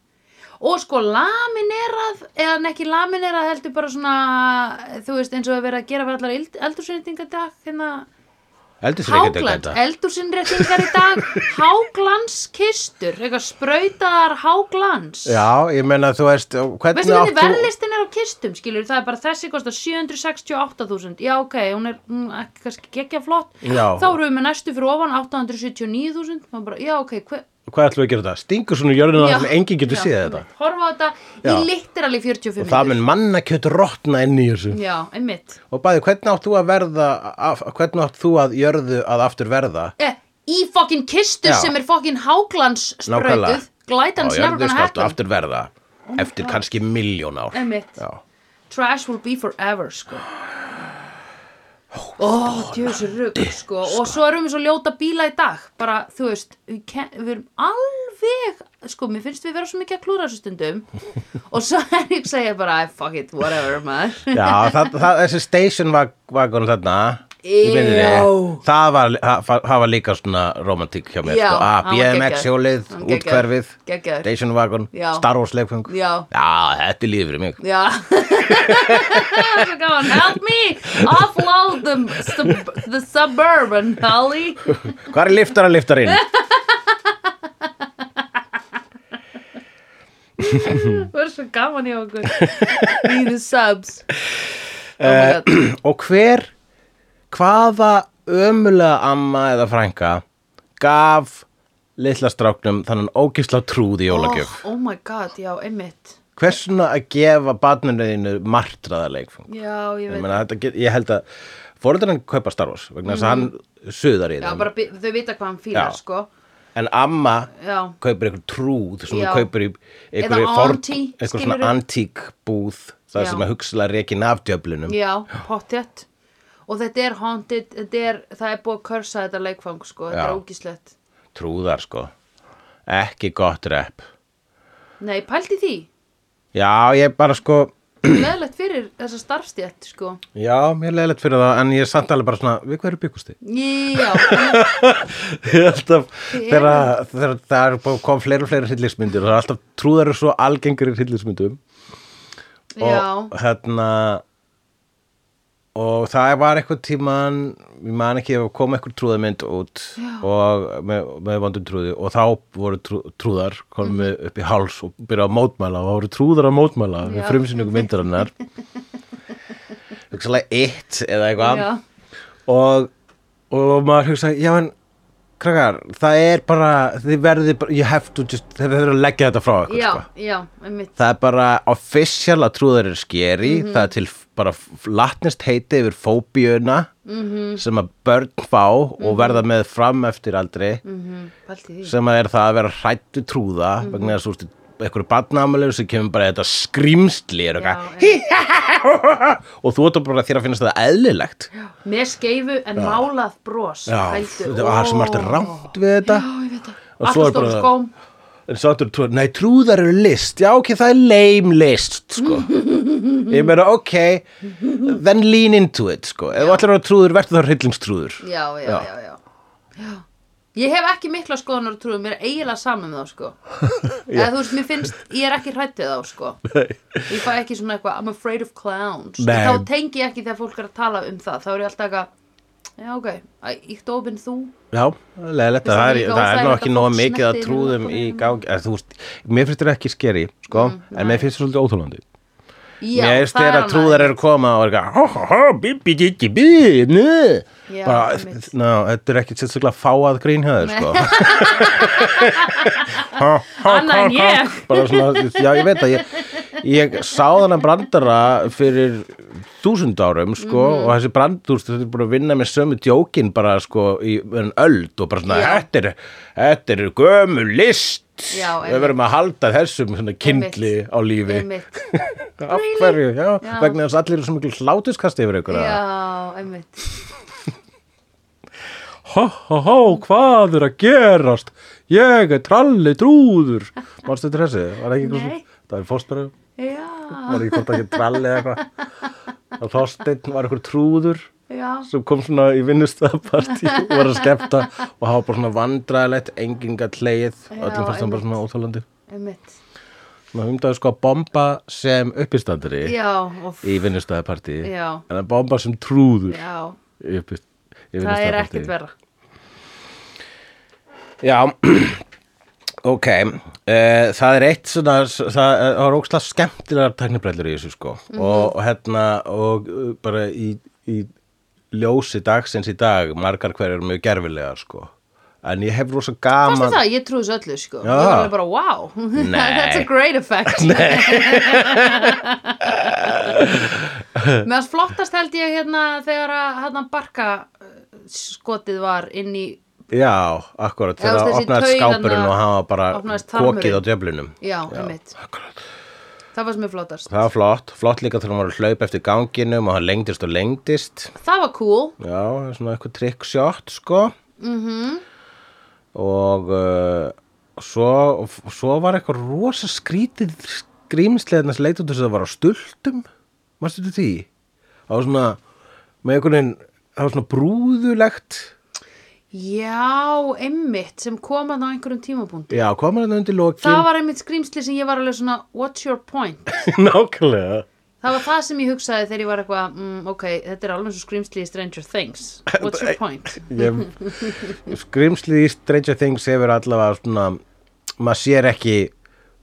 [SPEAKER 2] Og sko laminerað, eða en ekki laminerað heldur bara svona, þú veist, eins og að vera að gera við allar eldursynningadag, hérna,
[SPEAKER 1] Heldur sér ekki
[SPEAKER 2] Háglans,
[SPEAKER 1] þetta.
[SPEAKER 2] eldursinnréttingar í dag Háglanskistur, eitthvað sprautaðar háglans
[SPEAKER 1] Já, ég meina þú veist, hvernig
[SPEAKER 2] Veistu hvernig verðlistin er á kistum, skilur, það er bara þessi kostar 768.000, já ok, hún er hún, er kannski gekkja flott,
[SPEAKER 1] Já.
[SPEAKER 2] þá erum við með næstu fyrir ofan 879.000, maður bara, já ok, hver,
[SPEAKER 1] Hvað ætlum við að gera þetta? Stingur svona í jörðina þar sem enginn getur
[SPEAKER 2] já,
[SPEAKER 1] séð þetta.
[SPEAKER 2] Horfa á þetta
[SPEAKER 1] Já.
[SPEAKER 2] í literally 45
[SPEAKER 1] Og það
[SPEAKER 2] mínútur.
[SPEAKER 1] mun manna kjöt rotna inn í þessu.
[SPEAKER 2] Já, einmitt,
[SPEAKER 1] Og bæði, hvernig átt þú að verða, af, hvernig átt þú að jörðu að aftur verða?
[SPEAKER 2] eh, í fokkin kistu
[SPEAKER 1] Já.
[SPEAKER 2] sem er fokkin háglans
[SPEAKER 1] Nákvæmlega.
[SPEAKER 2] sprautuð, glætans
[SPEAKER 1] Á jörðu
[SPEAKER 2] nærkona
[SPEAKER 1] skalt
[SPEAKER 2] hættan
[SPEAKER 1] aftur verða eftir kannski miljón ár.
[SPEAKER 2] Oh Einmitt.
[SPEAKER 1] Já.
[SPEAKER 2] trash will be forever sko Ó, djöfisir rugg, sko og svo erum við svo ljóta bíla í dag bara, þú veist, við, ken, við erum alveg sko, mér finnst við vera svo mikið að klúra þessu stundum og svo er ég að segja bara, "Æ, fuck it, whatever, maður
[SPEAKER 1] Já, það, það, þessi station wagon þarna í
[SPEAKER 2] Já.
[SPEAKER 1] myndinni, það var, það, það var líka svona romantík hjá mér
[SPEAKER 2] Já,
[SPEAKER 1] sko. ah,
[SPEAKER 2] hann var
[SPEAKER 1] BMX
[SPEAKER 2] geggjaður.
[SPEAKER 1] hjólið,
[SPEAKER 2] Hann var
[SPEAKER 1] útkverfið
[SPEAKER 2] geggjaður, geggjaður.
[SPEAKER 1] station wagon,
[SPEAKER 2] Já.
[SPEAKER 1] Star Wars leikfeng
[SPEAKER 2] Já.
[SPEAKER 1] þetta er lífið fyrir mig
[SPEAKER 2] Já Svo gaman, help me offload the, sub, the suburban, Holly
[SPEAKER 1] Hvað er liftar að liftar inn?
[SPEAKER 2] Það er svo gaman hjá okkur Í the subs Oh my god
[SPEAKER 1] Og hver, hvaða ömulega amma eða frænka gaf litla stráknum þannig ógisla trúð í jólagjöf?
[SPEAKER 2] oh, oh my god, já, einmitt
[SPEAKER 1] Hversuna að gefa barninu þínu martraða leikfeng?
[SPEAKER 2] Já, ég
[SPEAKER 1] Ég,
[SPEAKER 2] veit
[SPEAKER 1] meina, þetta get, ég held að fóreldrarinn kaupa Star Wars vegna þess að hann suðar
[SPEAKER 2] Mhm.
[SPEAKER 1] í
[SPEAKER 2] Já,
[SPEAKER 1] þeim
[SPEAKER 2] bara bi- þau vita hvað hann fílar,
[SPEAKER 1] Já.
[SPEAKER 2] sko
[SPEAKER 1] en amma
[SPEAKER 2] Já.
[SPEAKER 1] kaupir einhver trúð sem
[SPEAKER 2] Já.
[SPEAKER 1] hún kaupir í einhver,
[SPEAKER 2] Eða auntie,
[SPEAKER 1] einhver
[SPEAKER 2] skilurðu?
[SPEAKER 1] svona antík búð það
[SPEAKER 2] Já.
[SPEAKER 1] sem er hugsalega rekin af djöflunum
[SPEAKER 2] Já, pottjett Og þetta er haunted, þetta er, það er búið að körsa þetta leikfang, sko, þetta
[SPEAKER 1] Já.
[SPEAKER 2] er ógislegt.
[SPEAKER 1] trúðar sko ekki gott rep
[SPEAKER 2] Nei, pældi því,
[SPEAKER 1] já ég bara sko
[SPEAKER 2] leðlegt fyrir þessa starfstjætt, sko.
[SPEAKER 1] já mér er leiðilegt fyrir það en ég er samt alveg bara svona við hverju byggust þið
[SPEAKER 2] Já,
[SPEAKER 1] Ég er alltaf,
[SPEAKER 2] Þið
[SPEAKER 1] þegar, þegar það er búið- kom fleiri og fleiri hryllismyndir og það er alltaf trúðar eru svo algengur í hryllismyndum
[SPEAKER 2] já.
[SPEAKER 1] og hérna og það var eitthvað tíman ég man ekki ef kom eitthvað trúðamynd út
[SPEAKER 2] Já.
[SPEAKER 1] og með, með vondum trúði og þá voru trú, trúðar komum við
[SPEAKER 2] Mhm.
[SPEAKER 1] upp í háls og byrjaði að mótmæla og það voru trúðar að mótmæla
[SPEAKER 2] Já.
[SPEAKER 1] við frumsynningu myndarinnar hugsalega eitt eða eitthvað
[SPEAKER 2] Já.
[SPEAKER 1] og, og maður hugsaði já en krakkar það er bara þið verðið bara, you have to just þið verður að leggja þetta frá ykkur sko
[SPEAKER 2] Já, já, einmitt
[SPEAKER 1] það er bara official að trúðar er skeri það er til f- bara f- latnest heiti yfir fóbíuna -hmm. sem að börn fá og verða með fram eftir aldrei
[SPEAKER 2] Mhm, Pælti því
[SPEAKER 1] sem að er það að vera hrættu trúða vegna þess að þú veist einhverju badnamalegur sem kemur bara þetta skrýmsli er
[SPEAKER 2] Já,
[SPEAKER 1] okkar
[SPEAKER 2] einmitt.
[SPEAKER 1] og þú ert bara þér að finnast það eðlilegt
[SPEAKER 2] Með skeifu en málað bros Pældu,
[SPEAKER 1] þetta var sem
[SPEAKER 2] ó.
[SPEAKER 1] allt er rámt við þetta
[SPEAKER 2] Já, ég veit það
[SPEAKER 1] Og svo
[SPEAKER 2] Alltaf
[SPEAKER 1] er bara-
[SPEAKER 2] stóru skóm
[SPEAKER 1] En svo áttur trúðar, nei trúðar eru list, já ok, það er lame list, sko. Ég meina, ok, then lean into it, sko. Ef allir eru trúður, verður það hryllingstrúður.
[SPEAKER 2] Já, já, já,
[SPEAKER 1] Já.
[SPEAKER 2] já, já. Ég hef ekki mikla skoðunar og trúið mér er eiginlega saman með þá sko Eða þú veist, mér finnst, ég er ekki hrættið þá sko Ég fæ ekki svona eitthvað, I'm afraid of clowns
[SPEAKER 1] Nei.
[SPEAKER 2] Þá tengi ég ekki þegar fólk er að tala um það Þá er ég alltaf eitthvað, já ok, ítt ofinn þú
[SPEAKER 1] Já, leðilegt,
[SPEAKER 2] Finnst
[SPEAKER 1] það
[SPEAKER 2] það
[SPEAKER 1] er,
[SPEAKER 2] líka
[SPEAKER 1] það er nú
[SPEAKER 2] óþægilegt
[SPEAKER 1] ekki
[SPEAKER 2] að
[SPEAKER 1] nóg
[SPEAKER 2] fólk
[SPEAKER 1] mikið að
[SPEAKER 2] snerti
[SPEAKER 1] trúðum
[SPEAKER 2] yfir
[SPEAKER 1] í
[SPEAKER 2] okkur?
[SPEAKER 1] gangi. eða Þú veist, mér finnst þetta ekki skeri, sko,
[SPEAKER 2] Mm,
[SPEAKER 1] en mér finnst þetta svolítið óþólandi.
[SPEAKER 2] Já,
[SPEAKER 1] mér finnst
[SPEAKER 2] það er
[SPEAKER 1] þegar að
[SPEAKER 2] annað.
[SPEAKER 1] trúðar eru að koma og er eitthvað, hó, hó, hó, bí, bí, bí, bí, bí, nö.
[SPEAKER 2] Já,
[SPEAKER 1] Bara,
[SPEAKER 2] einmitt.
[SPEAKER 1] ná, þetta er ekki sérstaklega fáað grín höður,
[SPEAKER 2] Nei.
[SPEAKER 1] sko. Ha, ha,
[SPEAKER 2] Annað en
[SPEAKER 1] ha, ha.
[SPEAKER 2] ég.
[SPEAKER 1] bara svona, já ég veit að ég, ég sá þennan brandara fyrir þúsund árum sko
[SPEAKER 2] Mhm.
[SPEAKER 1] og þessi brandur, þetta er búin að vinna með sömu djókin bara sko í en öld og bara svona,
[SPEAKER 2] Já.
[SPEAKER 1] þetta er, þetta er gömul list
[SPEAKER 2] Já,
[SPEAKER 1] við verðum að halda þessum svona kindli á lífi
[SPEAKER 2] Einmitt,
[SPEAKER 1] af hverju, já,
[SPEAKER 2] Já.
[SPEAKER 1] vegna þess að allir eru svo mikil hlátuskast yfir ykkur að
[SPEAKER 2] já, einmitt
[SPEAKER 1] Há, há, há, hvað er að gerast? Ég er tralli trúður. Manstu þetta þessi? Var ekki eitthvað
[SPEAKER 2] Nei.
[SPEAKER 1] sem, það er fóstbæru,
[SPEAKER 2] Já,
[SPEAKER 1] var ekki hvort ekki tralli eða eitthvað. Og Þorsteinn var eitthvað trúður
[SPEAKER 2] já
[SPEAKER 1] sem kom svona í vinnustöðapartí og var að skemmta og hafa bara svona vandræðilegt, enginga tleið, öllum fannst hann bara svona óþólandi.
[SPEAKER 2] Einmitt.
[SPEAKER 1] Svona humdaði sko að bomba sem uppistandari
[SPEAKER 2] Já, og
[SPEAKER 1] í vinnustöðapartí,
[SPEAKER 2] Já.
[SPEAKER 1] en að bomba sem trúður
[SPEAKER 2] já,
[SPEAKER 1] í uppist. í
[SPEAKER 2] það er
[SPEAKER 1] vinnustaðapartíi.
[SPEAKER 2] ekkert verra.
[SPEAKER 1] Já, ok, uh, það er eitt svona, s- það eh, það er ógstlega skemmtilegar teknibrellur í þessu sko
[SPEAKER 2] Mhm.
[SPEAKER 1] og, og hérna og eh, bara í, í ljósi dagsins í dag, margar hverjar mjög gerfilegar sko, en ég hef rosa
[SPEAKER 2] Fannst
[SPEAKER 1] gaman
[SPEAKER 2] það, ég trúi þessu öllu, sko.
[SPEAKER 1] Já.
[SPEAKER 2] Ég var alveg bara, wow, that's a great effect. Nei. Mér fannst flottast held ég hérna þegar að hérna barka eh, skotið var inn í,
[SPEAKER 1] Já, akkurat,
[SPEAKER 2] Eða,
[SPEAKER 1] þegar
[SPEAKER 2] þú veist,
[SPEAKER 1] það
[SPEAKER 2] þessi
[SPEAKER 1] opnaði
[SPEAKER 2] taug
[SPEAKER 1] skápurinn
[SPEAKER 2] þarna-
[SPEAKER 1] og hann var bara
[SPEAKER 2] opnaðist
[SPEAKER 1] kokið á
[SPEAKER 2] þarmurinn.
[SPEAKER 1] djöflunum
[SPEAKER 2] já, einmitt. það var sem er flottast
[SPEAKER 1] það var flott, flott líka þegar hann var að hlaupa eftir ganginum og hann lengdist og lengdist
[SPEAKER 2] það var cool
[SPEAKER 1] já, það er svona eitthvað trickshot sko -hmm.
[SPEAKER 2] Mhm.
[SPEAKER 1] og uh, svo, svo var eitthvað rosa skrítið skrýmslega þess leit út þess að það var á stultum maður stöldu því það var svona með einhvern veginn það var svona brúðulegt
[SPEAKER 2] já, einmitt, sem kom að á einhverjum tímapunkt
[SPEAKER 1] já, komur hann undir lokin
[SPEAKER 2] það var einmitt skrýmsli sem ég var alveg svona what's your point?
[SPEAKER 1] nákvæmlega
[SPEAKER 2] það var það sem ég hugsaði þegar ég var eitthvað mm, ok, þetta er alveg svo skrýmsli í Stranger Things what's your point?
[SPEAKER 1] ég, skrimslið í Stranger Things hefur allavega svona maður sér ekki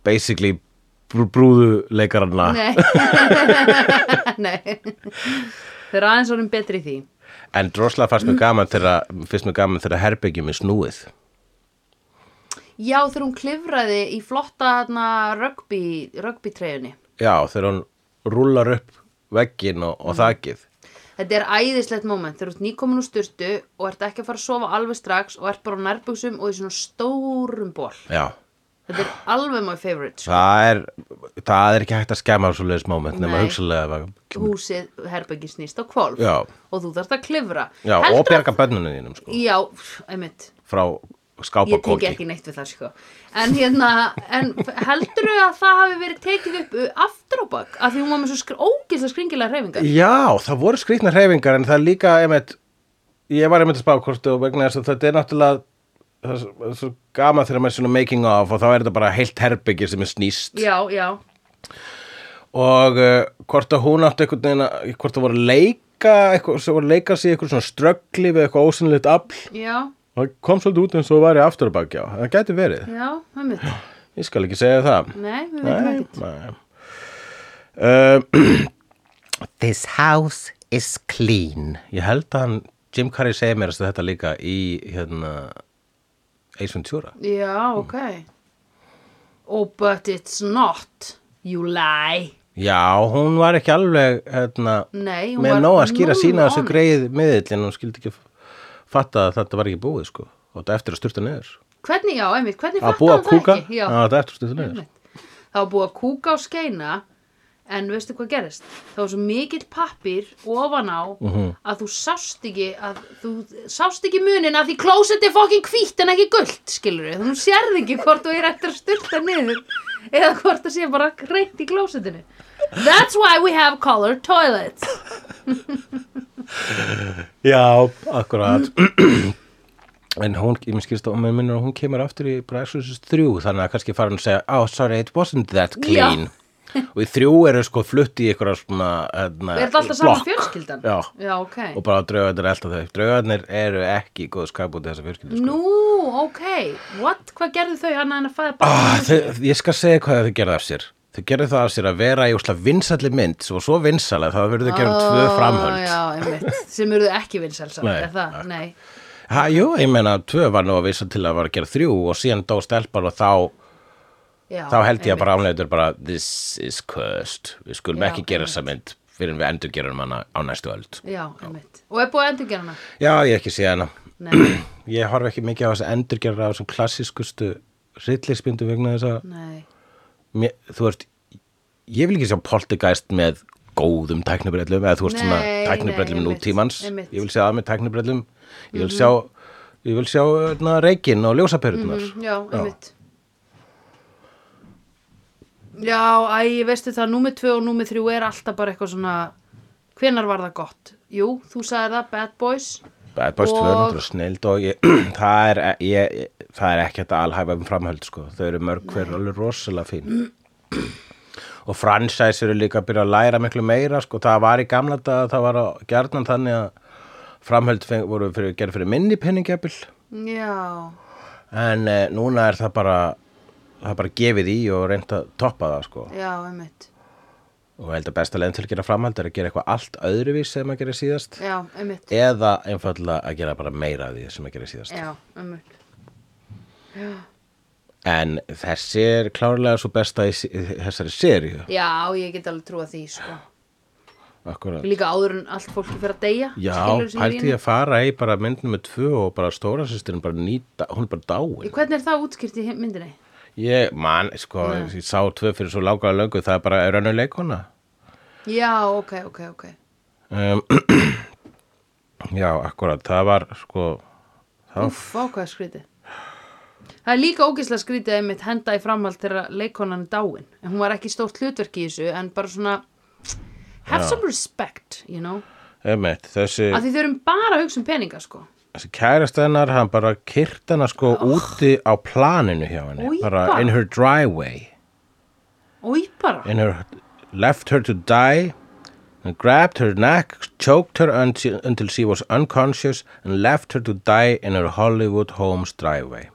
[SPEAKER 1] basically br brúðuleikarana
[SPEAKER 2] Nei Nei Þau eru aðeins orðin betri í því
[SPEAKER 1] en droslega fannst mér gaman þegar fyrst mér gaman þegar herbyggjum er snúið
[SPEAKER 2] Já, þegar hún klifraði í flotta hérna, rugby, rugby treyjunni
[SPEAKER 1] já þegar hún rúlar upp veggin og, og þakið
[SPEAKER 2] Þetta er æðislegt moment þegar þú ert nýkomin úr styrtu og ert ekki að fara að sofa alveg strax og ert bara á nærbuxum og í svona stórum ból
[SPEAKER 1] já
[SPEAKER 2] Þetta er alveg my favorite sko.
[SPEAKER 1] það er, það er ekki hægt að skemma svo leiðis moment nema
[SPEAKER 2] Nei.
[SPEAKER 1] hugsalega
[SPEAKER 2] Húsið herbergi snýst á kvolf
[SPEAKER 1] Já.
[SPEAKER 2] og þú þarft að klifra
[SPEAKER 1] já,
[SPEAKER 2] Heldurðu
[SPEAKER 1] og berga bönnunum þínum sko,
[SPEAKER 2] Já, einmitt
[SPEAKER 1] frá
[SPEAKER 2] ég teki
[SPEAKER 1] skápakóki
[SPEAKER 2] ekki neitt við það sko en hérna, en heldurðu að það hafi verið tekið upp uh, aftur á bak af því hún var með svo skr ógislega skringilega hreyfingar
[SPEAKER 1] Já, það voru skrýtna hreyfingar en það er líka, einmitt, ég var einmitt að spá hvort og vegna þess að þetta er náttúrulega það er svo- það er svo gaman þegar maður er svona making of og þá er þetta bara heilt herbyggir sem er snýst
[SPEAKER 2] já, já,
[SPEAKER 1] og uh, hvort að hún átti einhvern veginn að, hvort það voru að leika eitthvað, sem voru að leika sig í eitthvað svona ströggli við eitthvað ósynlegt afl
[SPEAKER 2] já,
[SPEAKER 1] það kom svolítið út eins og væri afturabakja það gæti verið,
[SPEAKER 2] já, einmitt
[SPEAKER 1] ég skal ekki segja það
[SPEAKER 2] nei, við veitum ekkert
[SPEAKER 1] nei. Um,
[SPEAKER 3] This house is clean.
[SPEAKER 1] Ég held að hann, Jim Carrey segir mér að þetta líka í hérna Ace Ventura.
[SPEAKER 2] já, ok oh, but it's not you lie
[SPEAKER 1] Já, hún var ekki alveg hérna,
[SPEAKER 2] nei, hún
[SPEAKER 1] með
[SPEAKER 2] var
[SPEAKER 1] nóg að skýra
[SPEAKER 2] null
[SPEAKER 1] sína þessu
[SPEAKER 2] on it.
[SPEAKER 1] greið miðill en hún skildi ekki fatta að þetta var ekki búið sko og þetta eftir að sturta niður.
[SPEAKER 2] hvernig, já, einmitt, hvernig
[SPEAKER 1] Að
[SPEAKER 2] fattar
[SPEAKER 1] búa
[SPEAKER 2] hann
[SPEAKER 1] að kúka,
[SPEAKER 2] það ekki já,
[SPEAKER 1] að þetta eftir að sturta niður.
[SPEAKER 2] Einmitt. Það var búið að kúka á skeina en veistu hvað gerist? Það var svo mikill pappir ofan á
[SPEAKER 1] Mhm.
[SPEAKER 2] að þú sást ekki að þú sást ekki munin að því klósett er fokkin hvítt en ekki gullt, skilur við. Þú sérð ekki hvort þú er eftir að styrta niður eða hvort það sé bara reynt í klósettinu. That's why we have colored toilets.
[SPEAKER 1] Já, akkurat. en hún, ég minn skýrst á, mér minnur að hún kemur aftur í Bræsjósus 3 þannig að kannski fara hann að segja, oh sorry, it wasn't that clean. og í þrjú eru sko flutt í ykkur svona, hérna,
[SPEAKER 2] Er þetta alltaf saman
[SPEAKER 1] blokk.
[SPEAKER 2] fjölskyldan?
[SPEAKER 1] Já.
[SPEAKER 2] Já, ok.
[SPEAKER 1] og bara draugarnir elta þau draugarnir eru ekki í góðu skap út í þessa fjörskildu sko.
[SPEAKER 2] Nú, ok. What? Hvað gerðu þau annað en að fæða bara?
[SPEAKER 1] ah, þau, ég skal segja hvað þau gerðu af sér þau gerðu það af sér að vera í úsla vinsalli mynd sem var svo vinsalega það verður þau gerum oh, tvö framhöld
[SPEAKER 2] Já, einmitt. Sem eru þau ekki vinsælsamt,
[SPEAKER 1] Nei,
[SPEAKER 2] er það? Nei.
[SPEAKER 1] ha, jú, ég meina tvö var nú að vissa til að var að gera þrjú og síðan dó stelpar og þá,
[SPEAKER 2] Já,
[SPEAKER 1] þá held ég
[SPEAKER 2] einmitt.
[SPEAKER 1] að bara ámleitur bara this is cursed, við skulum
[SPEAKER 2] Já,
[SPEAKER 1] ekki gera
[SPEAKER 2] einmitt.
[SPEAKER 1] þessa mynd fyrir en við endur gerum hana á næstu öld
[SPEAKER 2] Já, einmitt. Og er búið að endurgera hana?
[SPEAKER 1] já, ég hef ekki sé hana
[SPEAKER 2] Nei,
[SPEAKER 1] ég horf ekki mikið á þess að endur gera á þessum klassískustu rillispindu vegna þess að
[SPEAKER 2] nei.
[SPEAKER 1] mér, þú veist ég vil ekki sjá poltergeist með góðum tæknibrellum eða þú veist
[SPEAKER 2] Nei,
[SPEAKER 1] svona
[SPEAKER 2] nei,
[SPEAKER 1] tæknibrellum
[SPEAKER 2] einmitt,
[SPEAKER 1] nútímans
[SPEAKER 2] einmitt. Mhm.
[SPEAKER 1] ég vil sjá það með tæknibrellum ég vil sjá, ég vil sjá na, reikin og ljósaperunar
[SPEAKER 2] Mm, Já, einmitt. Já, æ, ég veistu það, númið tvö og númið þrjú er alltaf bara eitthvað svona, hvenar var það gott? Jú, þú sagði það, Bad Boys.
[SPEAKER 1] Bad Boys 2 er
[SPEAKER 2] Og-
[SPEAKER 1] náttúrulega snild og ég, það, er, ég, það er ekki þetta alhæfa um framhöld sko. þau eru mörg hver alveg rosalega fín og franchise eru líka að byrja að læra miklu meira sko. það var í gamla daga, það var á gjarnan þannig að framhöld feng, voru fyrir, gerð fyrir minni peningjabil
[SPEAKER 2] Já,
[SPEAKER 1] en eh, núna er það bara það er bara gefið í og reynd að toppa það sko.
[SPEAKER 2] já, einmitt.
[SPEAKER 1] og ég held að besta leiðin til að gera framhald er að gera eitthvað allt öðruvís sem að gera síðast
[SPEAKER 2] Já, einmitt.
[SPEAKER 1] eða einfallega að gera bara meira af því sem að gera síðast
[SPEAKER 2] Já, einmitt.
[SPEAKER 1] En þessi er klárlega svo besta í, í þessari seríu.
[SPEAKER 2] Já, ég get alveg trúa því, sko.
[SPEAKER 1] Akkurat.
[SPEAKER 2] Líka áður en allt fólki fyrir að deyja.
[SPEAKER 1] Já,
[SPEAKER 2] skilurðu sem
[SPEAKER 1] pælti
[SPEAKER 2] línu.
[SPEAKER 1] ég að fara í bara mynd nummer tvö og bara stóra sýstirinn bara nýta, hún er bara dáin.
[SPEAKER 2] Hvernig er það útskýrt í hin- myndinni?
[SPEAKER 1] Ég, man, sko, ég sá tvö fyrir svo lágaða löngu, það er bara raunum leikona.
[SPEAKER 2] já, ok, ok, ok
[SPEAKER 1] Um, já, akkurat, það var, sko, það var,
[SPEAKER 2] Úff, ákveða skrítið Það er líka ógislega skrítið einmitt henda í framhald þegar leikonan er dáin en hún var ekki stórt hlutverk í þessu en bara svona have some respect, you know
[SPEAKER 1] emmett, þessi,
[SPEAKER 2] að því þau erum bara að hugsa um peninga sko
[SPEAKER 1] þessi kærast hennar, hann bara kyrt hennar, sko, úti á planinu hjá henni.
[SPEAKER 2] Oh. Oj,
[SPEAKER 1] bara
[SPEAKER 2] bara.
[SPEAKER 1] in her driveway.
[SPEAKER 2] og ég bara,
[SPEAKER 1] in her left her to die and grabbed her neck choked her until, until she was unconscious and left her to die in her Hollywood home's driveway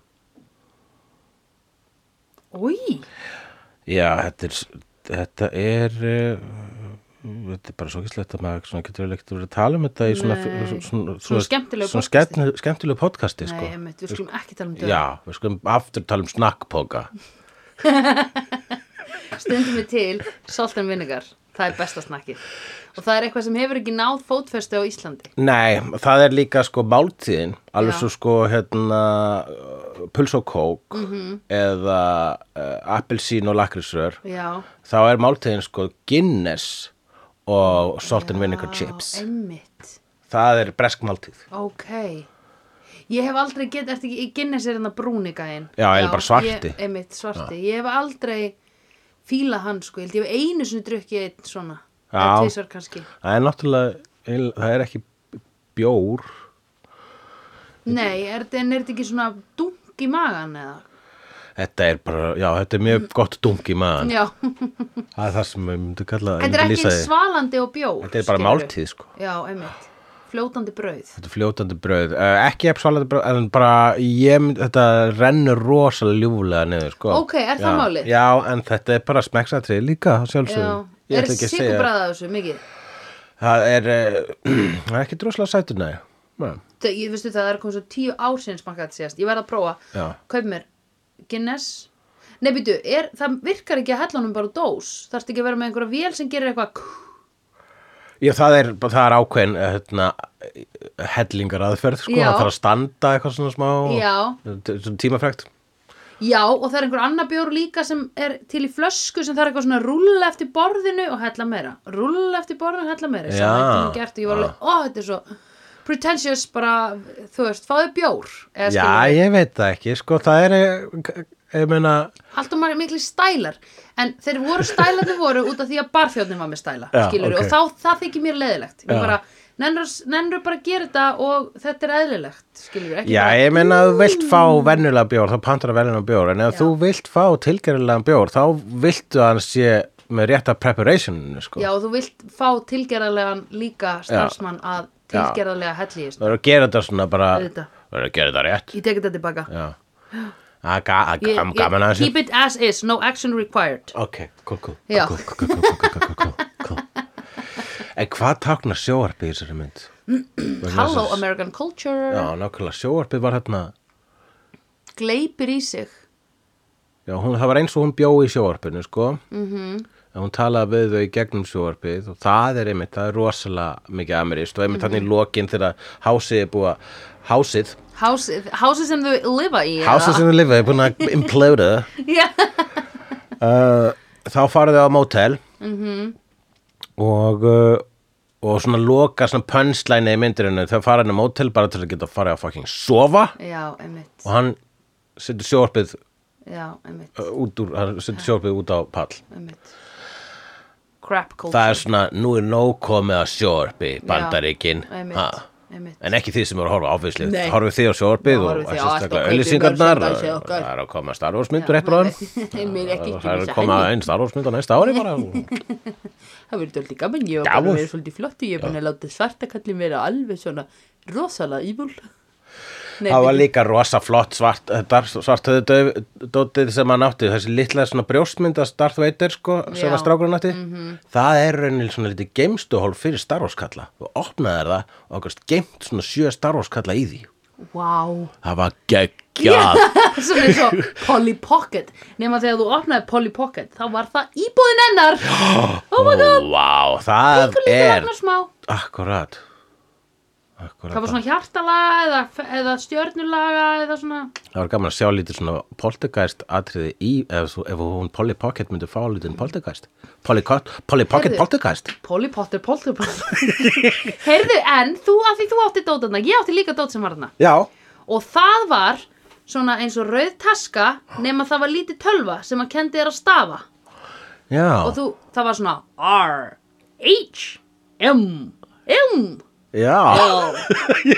[SPEAKER 2] oi
[SPEAKER 1] já, þetta er þetta er uh, þetta er bara svo gíslegt að maður svona getur vel ekkert verið að tala um þetta í svona,
[SPEAKER 2] Nei.
[SPEAKER 1] svona, svona,
[SPEAKER 2] Svona skemmtilegu
[SPEAKER 1] svona
[SPEAKER 2] podcasti.
[SPEAKER 1] skemmtilegu, skemmtilegu podcasti
[SPEAKER 2] Nei,
[SPEAKER 1] sko.
[SPEAKER 2] einmitt, við skulum ekki tala um döð
[SPEAKER 1] já, við skulum aftur tala um snakkpoka
[SPEAKER 2] Stundum við til, salt and vinegar Það er besta snakkið Og það er eitthvað sem hefur ekki náð fótfestu á Íslandi
[SPEAKER 1] Nei, það er líka sko máltíðin, alveg
[SPEAKER 2] Já.
[SPEAKER 1] svo sko hérna uh, puls og kók
[SPEAKER 2] Mhm.
[SPEAKER 1] eða uh, appelsín og lakrísrör,
[SPEAKER 2] Já,
[SPEAKER 1] þá er máltíðin sko Guinness og salt and vinegar
[SPEAKER 2] Já,
[SPEAKER 1] chips.
[SPEAKER 2] einmitt
[SPEAKER 1] Það er bresk máltíð.
[SPEAKER 2] Ok Ég hef aldrei get, ertu ekki, ég gynna sér hérna brúni gæinn
[SPEAKER 1] Já, eða bara svarti.
[SPEAKER 2] ég, Einmitt, svarti, ég hef aldrei fílað hann sko, ég held ég hef einu sinni drukkið einn svona
[SPEAKER 1] Já.
[SPEAKER 2] Eða tvisvar kannski
[SPEAKER 1] Það er náttúrulega, eil- það er ekki bjór.
[SPEAKER 2] Nei, er, þetta- en er þetta ekki svona dunk í magan eða?
[SPEAKER 1] Þetta er bara, já, þetta er
[SPEAKER 2] Mm.
[SPEAKER 1] mjög gott dungi maðan.
[SPEAKER 2] Já,
[SPEAKER 1] Það er það sem við myndum kalla,
[SPEAKER 2] Mm. þetta er
[SPEAKER 1] myndum
[SPEAKER 2] ekki
[SPEAKER 1] lýsa
[SPEAKER 2] eins
[SPEAKER 1] því.
[SPEAKER 2] svalandi og bjór
[SPEAKER 1] Þetta er bara
[SPEAKER 2] skilurðu.
[SPEAKER 1] máltíð, sko.
[SPEAKER 2] Já, einmitt, fljótandi brauð
[SPEAKER 1] Þetta er fljótandi brauð, uh, ekki epp svalandi brauð, en bara ég, mynd- þetta rennur rosalega ljúflega niður, sko.
[SPEAKER 2] Ok, er það
[SPEAKER 1] já,
[SPEAKER 2] málið?
[SPEAKER 1] Já, en þetta er bara smekksatrið líka, að sjálfsögum.
[SPEAKER 2] Já, er sigurbræða þessu mikið?
[SPEAKER 1] Það er, uh, það er ekki droslega sætur, nei. nei.
[SPEAKER 2] Þau- Ég veistu það, það er komið svo tíu ár sinni smakkaði síðast. Ég verð að prófa.
[SPEAKER 1] Já.
[SPEAKER 2] Kaup mér Guinness. Nei, býtu, er, það virkar ekki að hella honum bara úr dós. Þarfst ekki að vera með einhverja vél sem gerir eitthvað kú-
[SPEAKER 1] Já, það er, það er ákveðin eh, hérna, hellingar aðferð, sko,
[SPEAKER 2] Já.
[SPEAKER 1] það þarf að standa eitthvað svona smá.
[SPEAKER 2] Já.
[SPEAKER 1] Svona tímafrækt.
[SPEAKER 2] Já, og það er einhver annar bjór líka sem er til í flösku sem það er eitthvað svona rúlla eftir borðinu og hella meira. Rúlla eftir borðinu og hella meira. Sem
[SPEAKER 1] Já. Ah.
[SPEAKER 2] það er gert og ég var alveg, ó, þetta er svo pretentious bara, þú veist, fáðu bjór. eða
[SPEAKER 1] Já,
[SPEAKER 2] skilurðu.
[SPEAKER 1] ég veit það ekki, sko, það er, eh, ég meina,
[SPEAKER 2] alltaf margir miklu stælar en þeir voru stælarnir voru út af því að barþjóðnin var með stæla
[SPEAKER 1] Já,
[SPEAKER 2] skilur,
[SPEAKER 1] ok.
[SPEAKER 2] og þá, það þykir mér leðilegt ég
[SPEAKER 1] Já.
[SPEAKER 2] bara, nennur, nennur bara að gera þetta og þetta er eðlilegt skilur, ekki
[SPEAKER 1] Já,
[SPEAKER 2] bara,
[SPEAKER 1] ég meina að þú vilt fá vennulega bjór, þá pantar að vennulega bjór, en ef þú vilt fá tilgerðilega bjór, þá viltu að hann sé með rétta preparationinu, sko.
[SPEAKER 2] já, og þú vilt fá tilgerðarlegan líka starfsmann að
[SPEAKER 1] Já.
[SPEAKER 2] tilgerðarlega helli í
[SPEAKER 1] Það
[SPEAKER 2] þessu.
[SPEAKER 1] verður að gera þetta svona bara,
[SPEAKER 2] Auðvitað.
[SPEAKER 1] það verður að gera þetta rétt.
[SPEAKER 2] ég teki þetta tilbaka
[SPEAKER 1] Já. Það er ga- það er
[SPEAKER 2] Ég-
[SPEAKER 1] gam- gaman
[SPEAKER 2] ég-
[SPEAKER 1] að þessu.
[SPEAKER 2] keep it as is, no action required
[SPEAKER 1] Ok, cool, cool.
[SPEAKER 2] Já.
[SPEAKER 1] Cool, cool, cool, cool, cool, cool, cool, cool, cool. En hvað táknar sjóarpið í þessari mynd?
[SPEAKER 2] hello American culture
[SPEAKER 1] Já, nákvæmlega, sjóarpið var hérna,
[SPEAKER 2] gleipir í sig
[SPEAKER 1] já, hún, það var eins og hún bjó í sjóarpinu, sko. Mhm. En hún talaði við þau í gegnum sjóarpið og það er einmitt, það er rosalega mikið ameríst og einmitt mm í lokin þegar hásið er búið að, hásið,
[SPEAKER 2] houses, houses sem þau lifa í eða?
[SPEAKER 1] hásið sem þau lifið er búin að imploda
[SPEAKER 2] Já.
[SPEAKER 1] uh, þá farið þau á mótel
[SPEAKER 2] Mhm.
[SPEAKER 1] og uh, og svona loka svona pönslæni í myndirinu þau fara hann á mótel bara til að geta farið að fucking sofa
[SPEAKER 2] já, einmitt
[SPEAKER 1] og hann setur sjóarpið
[SPEAKER 2] já, einmitt
[SPEAKER 1] uh, út úr, hann setur sjóarpið út á pall
[SPEAKER 2] Einmitt. Crap culture
[SPEAKER 1] það er svona, nú er nóg komið að sjóarpi bandaríkin
[SPEAKER 2] Já, einmitt,
[SPEAKER 1] Ha.
[SPEAKER 2] einmitt.
[SPEAKER 1] en ekki því sem eru að horfa áfyslið
[SPEAKER 2] Nei.
[SPEAKER 1] horfið þið á sjóarpið
[SPEAKER 2] Já,
[SPEAKER 1] og
[SPEAKER 2] horfið þið á allt og
[SPEAKER 1] sérstaklega
[SPEAKER 2] kaupið
[SPEAKER 1] öllisingarnar
[SPEAKER 2] merchandise hjá okkar.
[SPEAKER 1] það er að koma starfórsmyndur eftir á
[SPEAKER 2] Nei, mér ekki
[SPEAKER 1] þeim
[SPEAKER 2] ekki
[SPEAKER 1] það er
[SPEAKER 2] missa
[SPEAKER 1] að koma
[SPEAKER 2] henni.
[SPEAKER 1] einn starfórsmynd á næsta ári bara
[SPEAKER 2] Það verður alltaf gaman, ég var
[SPEAKER 1] Já,
[SPEAKER 2] bara
[SPEAKER 1] og-
[SPEAKER 2] verið svolítið flott og ég er búin að láta svartakallin vera alveg svona rosalega ívul Nei,
[SPEAKER 1] það var
[SPEAKER 2] bíddu.
[SPEAKER 1] líka rosa flott svart, eh, svartöðu dótið sem hann átti þessi litla svona brjóstmynd að Darth Vader sko, sem
[SPEAKER 2] Já. Mhm.
[SPEAKER 1] að strákurinn átti það er rauninni svona lítið geimstuhól fyrir Star Wars kalla og opnaði þær það og okkur geimt svona sjö Star Wars kalla í því
[SPEAKER 2] Vá
[SPEAKER 1] það var geggjað
[SPEAKER 2] Svona eins og Polly Pocket Nefna þegar þú opnaði Polly Pocket þá var það íbúðin hennar Oh my god,
[SPEAKER 1] wow, það
[SPEAKER 2] einhver lítið
[SPEAKER 1] er
[SPEAKER 2] vagnar smá
[SPEAKER 1] akkurat Akkurat.
[SPEAKER 2] Hvað var svona hjartalaga eða, eða stjörnulaga eða svona
[SPEAKER 1] Það var gaman að sjá lítið svona poltergeist atriði í, ef, svo- ef hún Polly Pocket myndi fá lítið poltergeist Polly, Co- Polly Pocket
[SPEAKER 2] Heyrðu.
[SPEAKER 1] poltergeist
[SPEAKER 2] Polly Potter, Polly Potter Heyrðu, en þú, að því þú átti dótana Ég átti líka dót sem var þarna
[SPEAKER 1] Já,
[SPEAKER 2] Og það var svona eins og rauð taska Nema það var lítið tölva sem að kendi þér að stafa
[SPEAKER 1] já,
[SPEAKER 2] Og þú, það var svona R, H, M, M
[SPEAKER 1] já
[SPEAKER 2] L,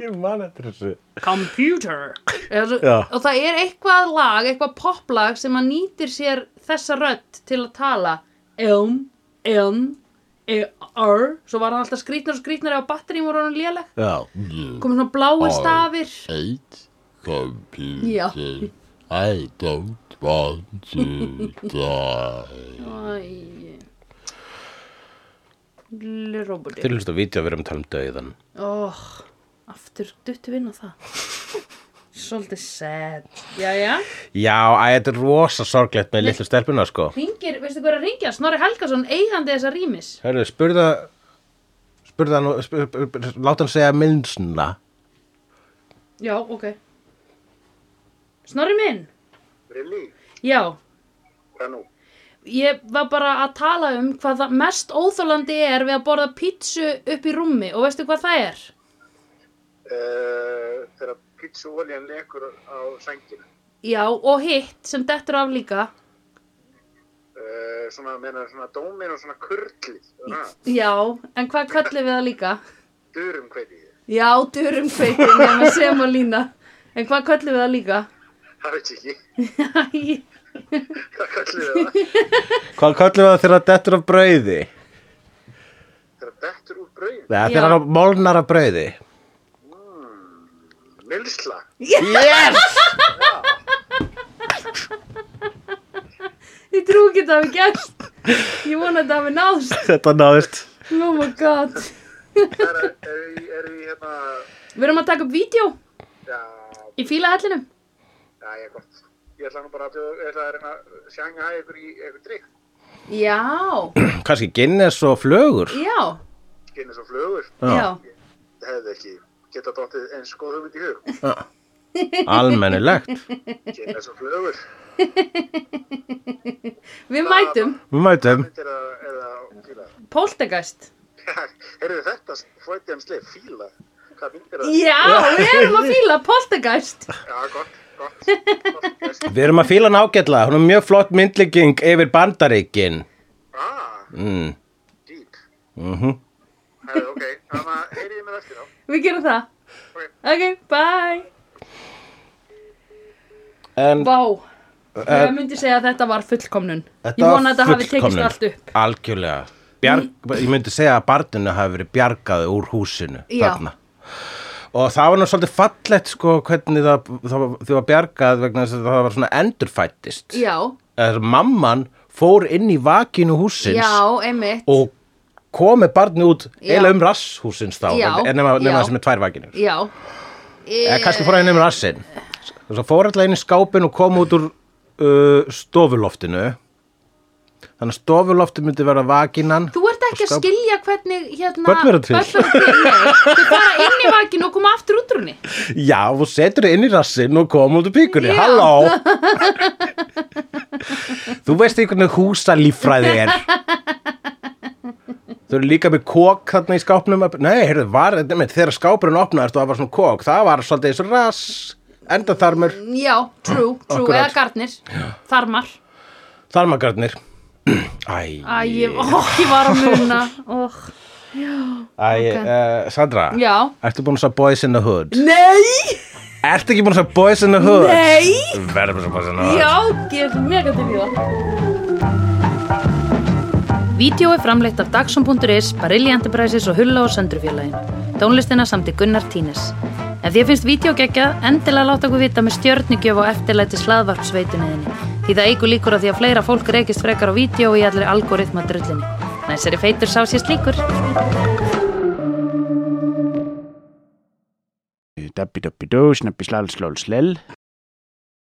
[SPEAKER 1] Ég man eftir þessu
[SPEAKER 2] Computer Eða svo,
[SPEAKER 1] Já.
[SPEAKER 2] Og það er eitthvað lag, eitthvað poplag sem að nýtir sér þessa rödd til að tala Elm, elm, er, svo var hann alltaf skrýtnar og skrýtnar eða batterím voru hann léleg
[SPEAKER 1] Já,
[SPEAKER 2] komið svona bláir stafir
[SPEAKER 4] eight computer.
[SPEAKER 2] Já.
[SPEAKER 4] I don't want to die.
[SPEAKER 2] Æ. Lille roboti
[SPEAKER 1] til hlust á vídeo við erum að tala um döiðan
[SPEAKER 2] oh, Aftur duttu við inn á það Svolítið sad Jæja,
[SPEAKER 1] Já, æ, þetta er rosa sorglegt með litlu stelpuna, sko
[SPEAKER 2] ringir, veistu hvað er að ringja? Snorri Helgason, eigandi þessa rýmis
[SPEAKER 1] Hörðu, spurða spurða hann, og- spur, spur, spur, láta hann segja minnsna
[SPEAKER 2] Já, ok Snorri minn
[SPEAKER 5] Lillý,
[SPEAKER 2] Já,
[SPEAKER 5] hvað nú?
[SPEAKER 2] ég var bara að tala um hvað það mest óþólandi er við að borða pítsu upp í rúmi og veistu hvað það er?
[SPEAKER 5] Uh, þegar pítsuoljan lekur á sængina,
[SPEAKER 2] Já, og hitt sem dettur af líka
[SPEAKER 5] uh, svona, meina, svona dómin og svona kurlið, svona,
[SPEAKER 2] Já, en hvað kallum við það líka?
[SPEAKER 5] durum kveitið,
[SPEAKER 2] Já, durum feitin, nema sem að lína En hvað kallum við það líka?
[SPEAKER 5] það veit ég ekki,
[SPEAKER 2] Æ,
[SPEAKER 5] hvað kallið það?
[SPEAKER 1] Hvað kallum við það þegar það dettur af brauði?
[SPEAKER 5] Þegar dettur úr brauðin,
[SPEAKER 1] Nei,
[SPEAKER 2] Já.
[SPEAKER 1] þegar hann molnar af brauði
[SPEAKER 5] milsla,
[SPEAKER 2] ég trú ekki að það hafi gerst Ég vona að það hafi náðst
[SPEAKER 1] Þetta náðist
[SPEAKER 2] Oh my god
[SPEAKER 5] það er, er, í- er í hérna,
[SPEAKER 2] Við erum að taka upp vídeo
[SPEAKER 5] já,
[SPEAKER 2] í fílahellinum
[SPEAKER 5] já, ég er gott, ég ætla nú bara að bjóða, ég ætla að reyna að sjanga ykkur í ykkur drikk,
[SPEAKER 2] Já,
[SPEAKER 1] Kanski Guinness og flögur
[SPEAKER 2] já,
[SPEAKER 5] skinni svo flugur,
[SPEAKER 2] já
[SPEAKER 5] hefði ekki, geta dottið eins góð hugmynd í hug,
[SPEAKER 1] Almennilegt
[SPEAKER 5] skinni svo flugur,
[SPEAKER 2] Við mætum
[SPEAKER 1] Við mætum
[SPEAKER 5] myndir að, eða, fíla það.
[SPEAKER 2] Poltergeist
[SPEAKER 5] Heyrðu þetta, Freudian slið, fíla. Hvað myndir það?
[SPEAKER 2] Já, við erum að fíla Poltergeist
[SPEAKER 5] Já, gott, gott. gott yes.
[SPEAKER 1] Við erum að fíla hann ágætla Hún er mjög flott myndlíking yfir bandaríkin
[SPEAKER 5] ah,
[SPEAKER 1] mm.
[SPEAKER 5] deep.
[SPEAKER 1] Mm
[SPEAKER 5] Heyrðu, ok, þannig að heyriði mér eftir þá.
[SPEAKER 2] Við gerum það Ok, bye
[SPEAKER 1] En
[SPEAKER 2] Vá, ég myndi segja að þetta var fullkomnun Ég
[SPEAKER 1] var
[SPEAKER 2] vona að þetta hafi tekist
[SPEAKER 1] fullkomnun.
[SPEAKER 2] allt upp
[SPEAKER 1] Algjörlega Bjarg, Ég myndi segja að barninu hafi verið bjargað úr húsinu
[SPEAKER 2] Já.
[SPEAKER 1] þarna Og það var nú svolítið fallegt sko hvernig það, það var- þau var bjargað vegna þess að það var svona endurfættist
[SPEAKER 2] Já,
[SPEAKER 1] Þess að mamman fór inn í vakinu húsins
[SPEAKER 2] já, einmitt
[SPEAKER 1] og kom með barni út
[SPEAKER 2] Já.
[SPEAKER 1] eiginlega um rass húsins þá
[SPEAKER 2] Já,
[SPEAKER 1] en nema,
[SPEAKER 2] já.
[SPEAKER 1] nema það sem er tvær vakinur
[SPEAKER 2] Já
[SPEAKER 1] eða kannski fór hann um rassin og svo fór alltaf inn í skápin og kom út úr uh, stofuloftinu þannig að stofulofti myndi vera vakinan
[SPEAKER 2] Þú ert ekki að skilja hvernig hérna
[SPEAKER 1] Börn verða til.
[SPEAKER 2] börn verða til, nei. Þau fara inn í vakinu og koma aftur út úr henni
[SPEAKER 1] já og setur þið inn í rassin og kom út úr píkunni
[SPEAKER 2] Já.
[SPEAKER 1] halló þú veist ekki hvernig húsalíffræði er Þau eru líka með kók þarna í skápnum Nei, heyrðu, var, nemi, þegar skápurinn opnaðist og það var svona kók, það var svolítið eins og rass endaþarmur
[SPEAKER 2] Já, true, true,
[SPEAKER 1] Akkurat.
[SPEAKER 2] eða garnir Þarmar
[SPEAKER 1] Þarmagarnir Æ,
[SPEAKER 2] Æ, ég, ó, ég var að muna oh.
[SPEAKER 1] æ uh, Sandra
[SPEAKER 2] Já.
[SPEAKER 1] Ertu búin að sá Boys in the Hood?
[SPEAKER 2] Nei,
[SPEAKER 1] Ertu ekki búin að sá Boys in the Hood?
[SPEAKER 2] nei
[SPEAKER 1] Verðum að sá Boys in the Hood
[SPEAKER 2] Já, gefur mega til í það Vídeó er framleitt af Dagsum.is, Barilli Enterprises og Hulla og Söndrufjörlægin. Tónlistina samt í Gunnar Tínes. Ef því finnst vídeo geggja, endilega láta okkur vita með stjörnugjöf og eftirlæti slaðvarpsveituninni. Því það eigur líkur á því að fleira fólk reykist frekar á vídeo í allri algoritma drullinni. Næsari feitur sá sér slíkur.
[SPEAKER 6] Dabbi dabbi dó, snabbi slal slól slell